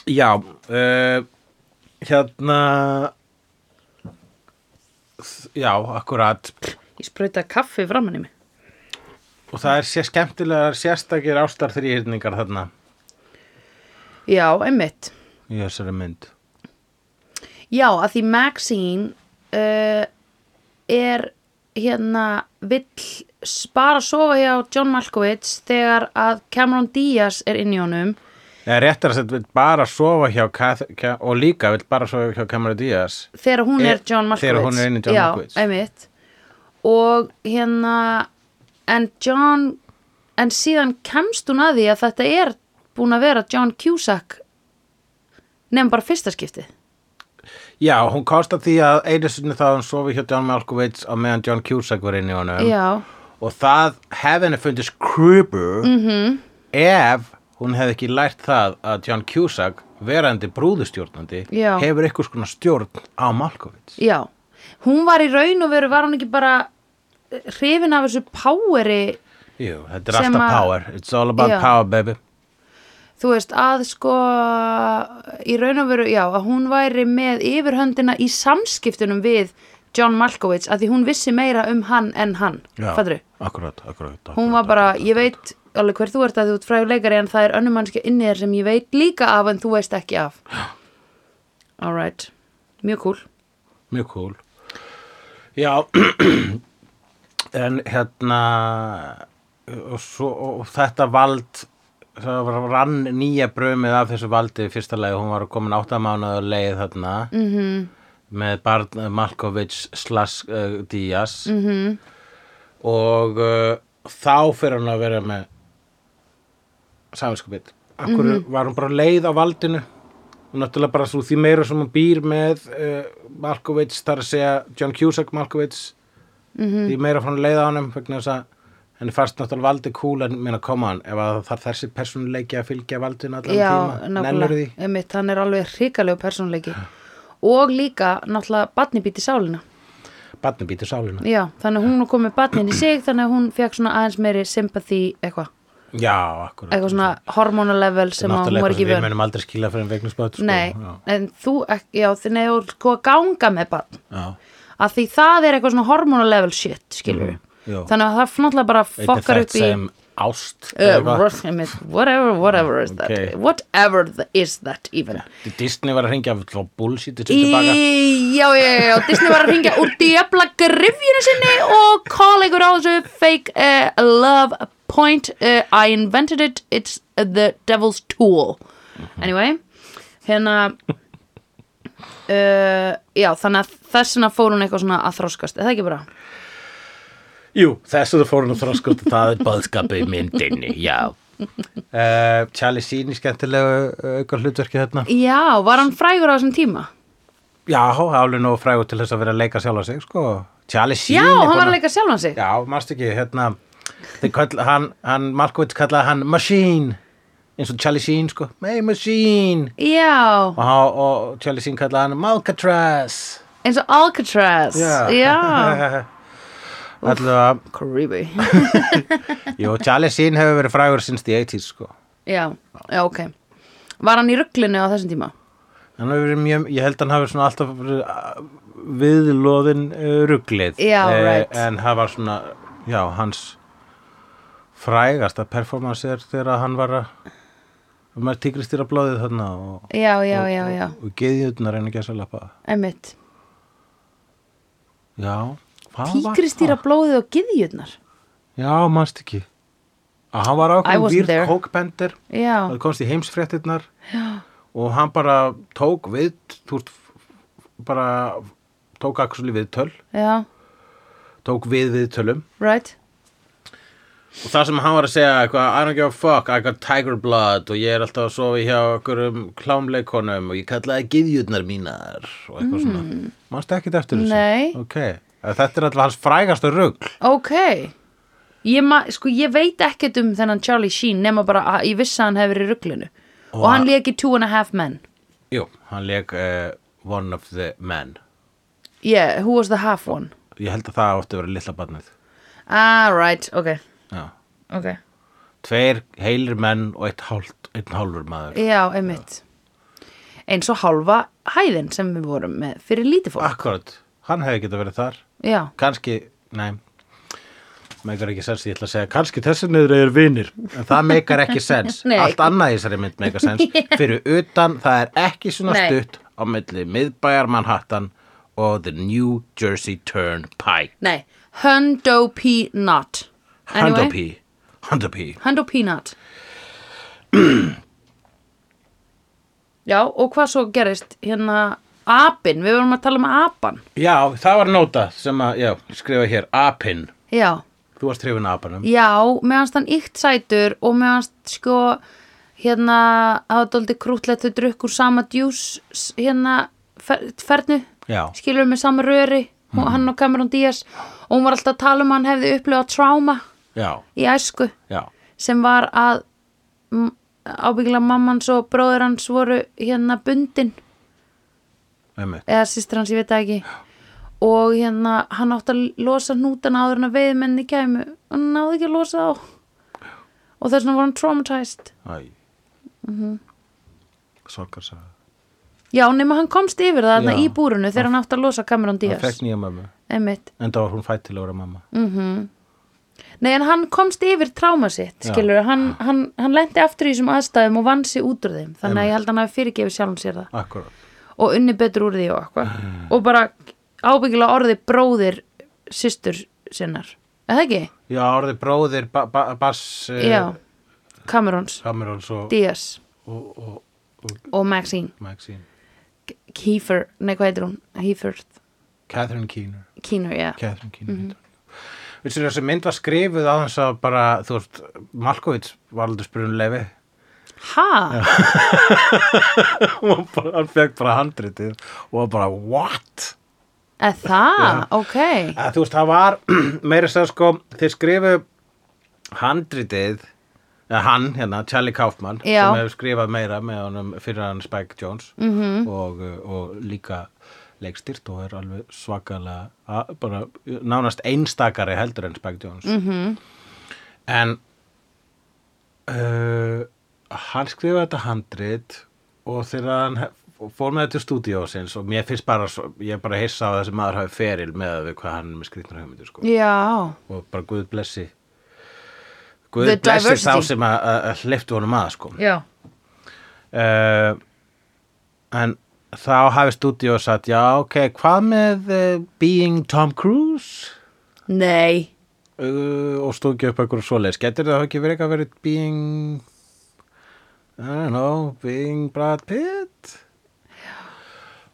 S1: Já, uh, hérna, já, akkurat,
S2: ég sprauta kaffi framann í mig
S1: og það er sér skemmtilega sérstakir ástar þrýhyrningar þarna
S2: já, einmitt
S1: í þessari mynd.
S2: já, að því Maxine uh, er hérna vill s- bara sofa hjá John Malkovich þegar að Cameron Diaz er inn í honum
S1: Eða réttar að þetta vil bara sofa hjá, Kath, Ka- og líka vil bara sofa hjá Cameron Diaz.
S2: þegar hún
S1: Eh,
S2: er John Malkovich
S1: þegar hún er inni John
S2: já,
S1: Malkovich.
S2: einmitt og hérna en John en síðan kemst hún að því að þetta er búin að vera John Cusack nefn bara fyrsta skipti
S1: Já, hún kostar því að einu sinni þá hún sofi hjá John Malkovich á meðan John Cusack var inn í honum.
S2: já,
S1: Og það hefði henni fundist creeper -hmm.
S2: Mhm.
S1: ef hún hefði ekki lært það að John Cusack, verandi brúðustjórnandi,
S2: Já.
S1: hefur einhvers konar stjórn á Malkovits.
S2: já hún var í raun og veru var hún ekki bara hrifin af þessu poweri
S1: Jú, þetta er
S2: Sem
S1: alltaf
S2: að-
S1: power. It's all about
S2: Já.
S1: power, baby.
S2: þú veist að sko í raun og veru, já, að hún væri með yfirhöndina í samskiptunum við John Malkovich að því hún vissi meira um hann en hann Fattru?
S1: Akkurat, akkurat, akkurat.
S2: hún var bara, ég veit alveg hver þú ert að þú ert frægur leikari en það er önnum mannskja inni þér sem ég veit líka af en þú veist ekki af alright, mjög cool
S1: Mjög cool. Já, en hérna, og, svo, og þetta vald, það var- rann nýja brömið af þessu valdi í fyrsta lagi, hún var komin áttamánaðu leið þarna -hmm. með barn eh, Malkovich slash uh, Díaz -hmm.
S2: Mhm.
S1: og uh, þá fyrir hún að vera með saminskupið. Akkur mm
S2: Mhm.
S1: var hún bara leið á valdinu og náttúrulega bara svo því meira sem hún býr með uh, Malkovich, þar að segja John Cusack Malkovich
S2: Mhm.
S1: því meira fann leiða á honum vegna þess að henni fannst náttúrulega valdið cool en minna koma hann ef að það er þessi persónuleiki að fylgja valdinu allan
S2: já,
S1: tíma, nennur því
S2: einmitt, hann er alveg hrikalegu persónleiki og líka náttúrulega batni býti sálina
S1: Barni býtir sálina
S2: já, þannig að hún kom með batnin í sig þannig að hún fekk svona aðeins meiri sympathy eitthvað,
S1: Já, akkurat
S2: eitthvað svona hormonalevel sem að hún
S1: Náttúrulega
S2: var
S1: eitthvað
S2: ekki
S1: sem við
S2: vön
S1: munum aldrei skila fyrir en vegnusböð sko.
S2: nei,
S1: já.
S2: en þú ekki, já, þannig að þú sko ganga með batn
S1: Já.
S2: að því það er eitthvað svona hormonal level shit skilur
S1: Mhm,
S2: við
S1: Já.
S2: þannig að það náttúrulega bara fokkar upp í
S1: sem ást
S2: uh,
S1: eða eitthvað.
S2: rough- einmitt, whatever, whatever is that
S1: Ok.
S2: whatever th- is that even
S1: Disney var að hringja frá bullshit
S2: Í,
S1: tilbaka
S2: já, já, já, já, Disney var að ringja úr djöfla grifjunu sinni og call ykkur á þessu fake uh, love point uh, I invented it, it's the devil's tool
S1: Mhm.
S2: anyway, hérna uh, já, þannig að þessina fór hún eitthvað svona að þroskast, eða ekki bara
S1: Jú, þessu þú fórun og þroskast það er boðskapu í myndinni, já uh, Charlie Sheen í skemmtilegu auka hlutverki þarna
S2: já, var hann frægur á þessum tíma
S1: Já, hann var alveg nógu frægur til þess að vera að leika sjálf á sig sko. Charlie Sheen
S2: já,
S1: er
S2: hann
S1: búinn
S2: var að leika sjálfan sig
S1: Já, mást ekki, hérna þeir kall, hann, hann, Malkovich kallaði hann Machine, eins og Charlie Sheen sko, hey Machine
S2: já,
S1: og, hann- og Charlie Sheen kallaði hann Malcatraz
S2: eins og Alcatraz já,
S1: Alltaf,
S2: creepy
S1: jú, Charlie Sheen hefur verið frægur sinns the 80s sko
S2: Já, já, ok. Var hann í rugglinu á þessum tíma?
S1: hann hefur verið mjög, ég held að hann hafi svona alltaf verið uh, viðloðin uh, rugglið
S2: Já,
S1: Eh,
S2: right.
S1: en það var svona, já, hans frægasta performance er þegar hann var að maður tíkristýra blóðið þarna og
S2: Já, já, já, já,
S1: og geðjötnar en ekki að selappa
S2: emmitt.
S1: já, hvað var
S2: Tíkristýra
S1: það?
S2: blóðið og gyðjurnar.
S1: já, mannst ekki að hann var
S2: I
S1: ákveðin
S2: wasn't
S1: výrt
S2: there. Ah.
S1: kókbendir
S2: Já,
S1: það komst í heimsfréttirnar já. og hann bara tók við túrst, bara tók aksjóli viðtöl
S2: já,
S1: tók við viðtölum
S2: right.
S1: og það sem hann var að segja eitthvað, I don't give a fuck, I got tiger blood og ég er alltaf að sofa hjá okkur um klámleikonum og ég kallaði gyðjurnar mínar og eitthvað svona mannst ekki eftir þessu
S2: Mm. Nei.
S1: ok, þetta er alltaf hans frægasta rugg
S2: Ok. Ég, ma, sko, ég veit ekkert um þennan Charlie Sheen nema bara að ég vissi að hann hefur verið í rugglinu. Og,
S1: Og
S2: hann
S1: að-
S2: leik í Two and a Half Men.
S1: Jú, hann leik uh, One of the Men
S2: Yeah, who was the half one?
S1: Ég held að það átti að vera litla barnið
S2: Ah, right, ok,
S1: Já.
S2: ok.
S1: Tveir heilir menn og eitt hálft, einn hálfur maður
S2: Já, emmitt. Eins og hálfa hæðin sem við vorum með fyrir lítið fólk.
S1: Akkurat, hann hefði getað verið þar
S2: Já,
S1: Kanski, nei Megar ekki sens, ég ætla að segja Kanski þessi niður er vinir En það megar ekki sens
S2: Nei.
S1: Allt annað í þessari mynd megar sens Fyrir utan, það er ekki svona
S2: Nei.
S1: stutt Á milli miðbæjar Manhattan Og the New Jersey Turnpike
S2: nei, Hundo P. Not.
S1: Anyway. Hundo P Hundo P
S2: Hand og peanut Já, og hvað svo gerist hérna apinn, við vorum að tala um apan
S1: Já, það var nóta sem að, já, skrifa hér, apinn.
S2: Já,
S1: Þú varst hrifin að apanum.
S2: já, meðanst hann ykt sætur og meðanst sko hérna, það var dóldi krútlegt þau drukkur sama djús s- hérna fer, fernu,
S1: Já.
S2: skilur með sama röri mm. hann og Cameron Diaz og hún var alltaf að tala um að hann hefði upplifað tráma
S1: Já,
S2: í æsku
S1: já,
S2: sem var að m- ábyggilega mamman svo bróður hans voru hérna bundin
S1: einmitt.
S2: eða sýstir hans, ég veit það ekki og hérna hann átti að losa hnútana áður en að veiðmenni kæmu og hann náði ekki að losa þá og þess vegna var hann traumatized
S1: Æ. Mm -hmm. Sorgarsaga.
S2: já, nema hann komst yfir það þarna
S1: Já.
S2: í búrunu þegar hann átti að losa
S1: Það
S2: Cameron Diaz
S1: fekk nýja mömmu.
S2: einmitt,
S1: En það var hún fætt til að vera mamma.
S2: nei en hann komst yfir tráma sitt,
S1: Já.
S2: skilur hann, hann, hann lendi aftur í þessum aðstæðum og vann sig út úr þeim, þannig að ég held að hann hafi fyrirgefið sjálfum sér það
S1: Akkurat.
S2: og unni betur úr því og eitthvað og bara ábyggilega orði bróðir systur sinnar eða ekki?
S1: Já, orðið bróðir ba ba Bass eh,
S2: Já, Camerons,
S1: Camerons og,
S2: Diaz
S1: og, og
S2: og Maxine
S1: Maxine.
S2: Kiefer, nei hvað heitir hún? Heifer,
S1: Catherine Keener.
S2: Keener, já
S1: Catherine Keener. Mm -hmm. Vissu þessi mynd var skrifuð á þess að bara, þú veist, Malkovits var aldrei spurðum lefi.
S2: Ha?
S1: Hún var bara- hann fekk bara handritið og var bara, what?
S2: Eða það? Ok
S1: að þú veist, það var meira sér sko, þeir skrifu handritið eða hann, hérna, Charlie Kaufman
S2: Já.
S1: sem hefur skrifað meira með honum fyrir hann Spike Jones -hmm. og, uh, og líka leikstyrt og er alveg svakalega a- bara uh, nánast einstakari heldur en Spike Jones -hmm. en uh, hann skrifaði þetta handrit og þegar hann hef- og fór með þetta til stúdíósins og mér finnst bara, svo- ég er bara hissa á að þessi maður hafi feril með að við hvað hann er með skrýtnar hugmyndir sko.
S2: já,
S1: og bara Guð blessi Guð
S2: The
S1: blessi þá
S2: diversity.
S1: sem að- að að hleyptu honum að sko.
S2: já,
S1: uh, en þá hafi stúdíó sagt já ok, hvað með uh, Being Tom Cruise
S2: nei
S1: uh, og stóð ekki upp eitthvað svoleiðis getur það ekki verið eitthvað verið Being I don't know Being Brad Pitt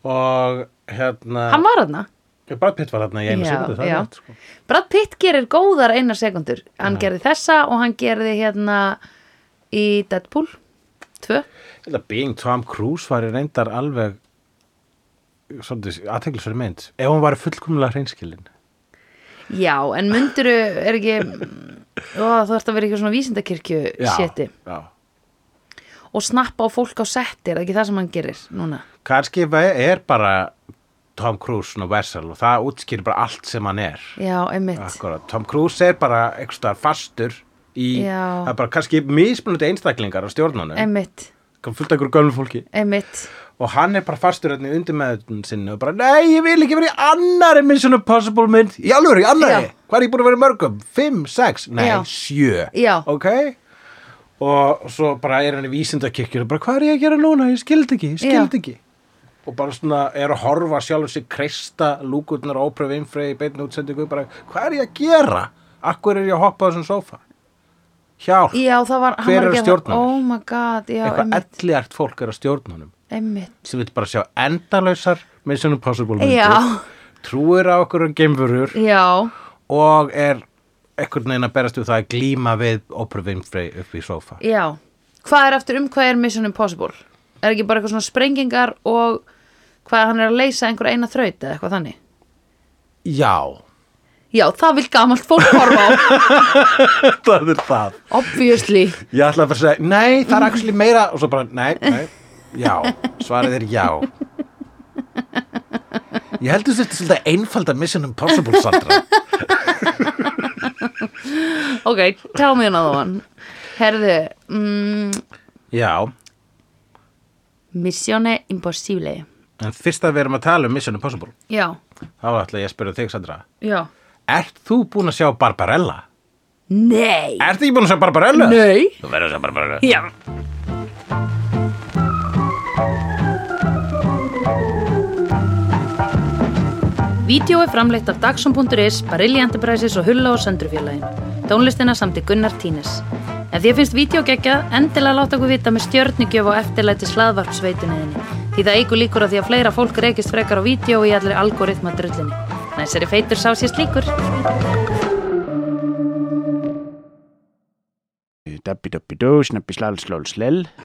S1: og hérna
S2: hann var hann
S1: Brad Pitt var hérna í einu
S2: Já,
S1: sekundu það
S2: já.
S1: er rétt sko.
S2: Brad Pitt gerir góðar einar sekundur hann gerði þessa og hann gerði hérna í Deadpool 2
S1: Ég held að Being Tom Cruise var í reyndar alveg svolítið aðteglisverið mynd ef hún var fullkomlega hreinskilin
S2: já, en mynduru er ekki ó, þú ert að vera eitthvað svona vísindakirkju séti
S1: já
S2: og snappa á fólk á setti er það ekki það sem hann gerir núna
S1: kannski er bara Tom Cruise svona versal og það útskýr bara allt sem hann er
S2: já, einmitt
S1: Akkurat. Tom Cruise er bara einhverstaðar fastur í,
S2: Já.
S1: það er bara kannski mismunandi einstaklingar á stjórnunum
S2: einmitt,
S1: fullt af einhverju gömlu fólki
S2: einmitt
S1: og hann er bara fastur hérna í undirmeðun sinni og bara, nei, ég vil ekki vera í annari Mission Impossible mynd, í alveg, í annari
S2: Já.
S1: hvað er ég búin að vera í mörgum, fimm, sex nei,
S2: Já.
S1: sjö,
S2: Já.
S1: ok og svo bara er hann í vísindakirkjur og bara, hvað er ég að gera núna, ég skildi ekki ég skildi ekki og bara svona er að horfa sjálfur sig kreista lúkurnar ópröf innfrið í beinni útsendingu bara, hvað er ég að gera akkur er ég að hoppa á þessum sófa hjálp,
S2: já, það var, hann
S1: Hver eru
S2: var að gera það
S1: stjórnarnir?
S2: oh my god, já,
S1: eitthvað
S2: einmitt,
S1: ellíart fólk er að stjórna honum
S2: einmitt
S1: sem vil bara sjá endalausar Mission Impossible myndir
S2: Já.
S1: trúir á okkur um geimfurur
S2: já,
S1: og er einhvern veginn að berast við það að glíma við Oprah Winfrey upp í sofa
S2: Já, hvað er aftur um hvað er Mission Impossible? Er ekki bara eitthvað svona sprengingar og hvað hann er að leysa einhver eina þraut eða eitthvað þannig?
S1: Já,
S2: Já, það vil gamalt fólk horfa á,
S1: það er það
S2: obviously.
S1: Ég ætla að bara að segja, nei, það er actually meira og svo bara, nei, nei, já svarið er já Ég heldur þetta svolítið einfald að Mission Impossible Sandra
S2: Ok, tell me another one. Herðu, mm,
S1: Já,
S2: Mission Impossible.
S1: en fyrst að við erum að tala um Mission Impossible
S2: Já,
S1: þá ætla ég að spyrja þig Sandra
S2: já.
S1: Ert þú búin að sjá Barbarella?
S2: Nei.
S1: Ertu ekki búin að sjá Barbarella?
S2: Nei.
S1: Þú verður að sjá Barbarella
S2: Já. Vídeó er framleitt af Dagsum.is, Barilli Enterprises og Hulla og Söndrufjörlægin. Tónlistina samt í Gunnar Tínes. Ef því að finnst vídeo geggja, endilega láta okkur vita með stjörnigjöf og eftirlæti slaðvarpsveituninni. Því það eigur líkur að því að fleira fólk reykist frekar á vídeo í allir algoritma drullinni. Næsari feitur sá sér slíkur.
S3: Dabbi dabbi dó, snabbi slal slól slell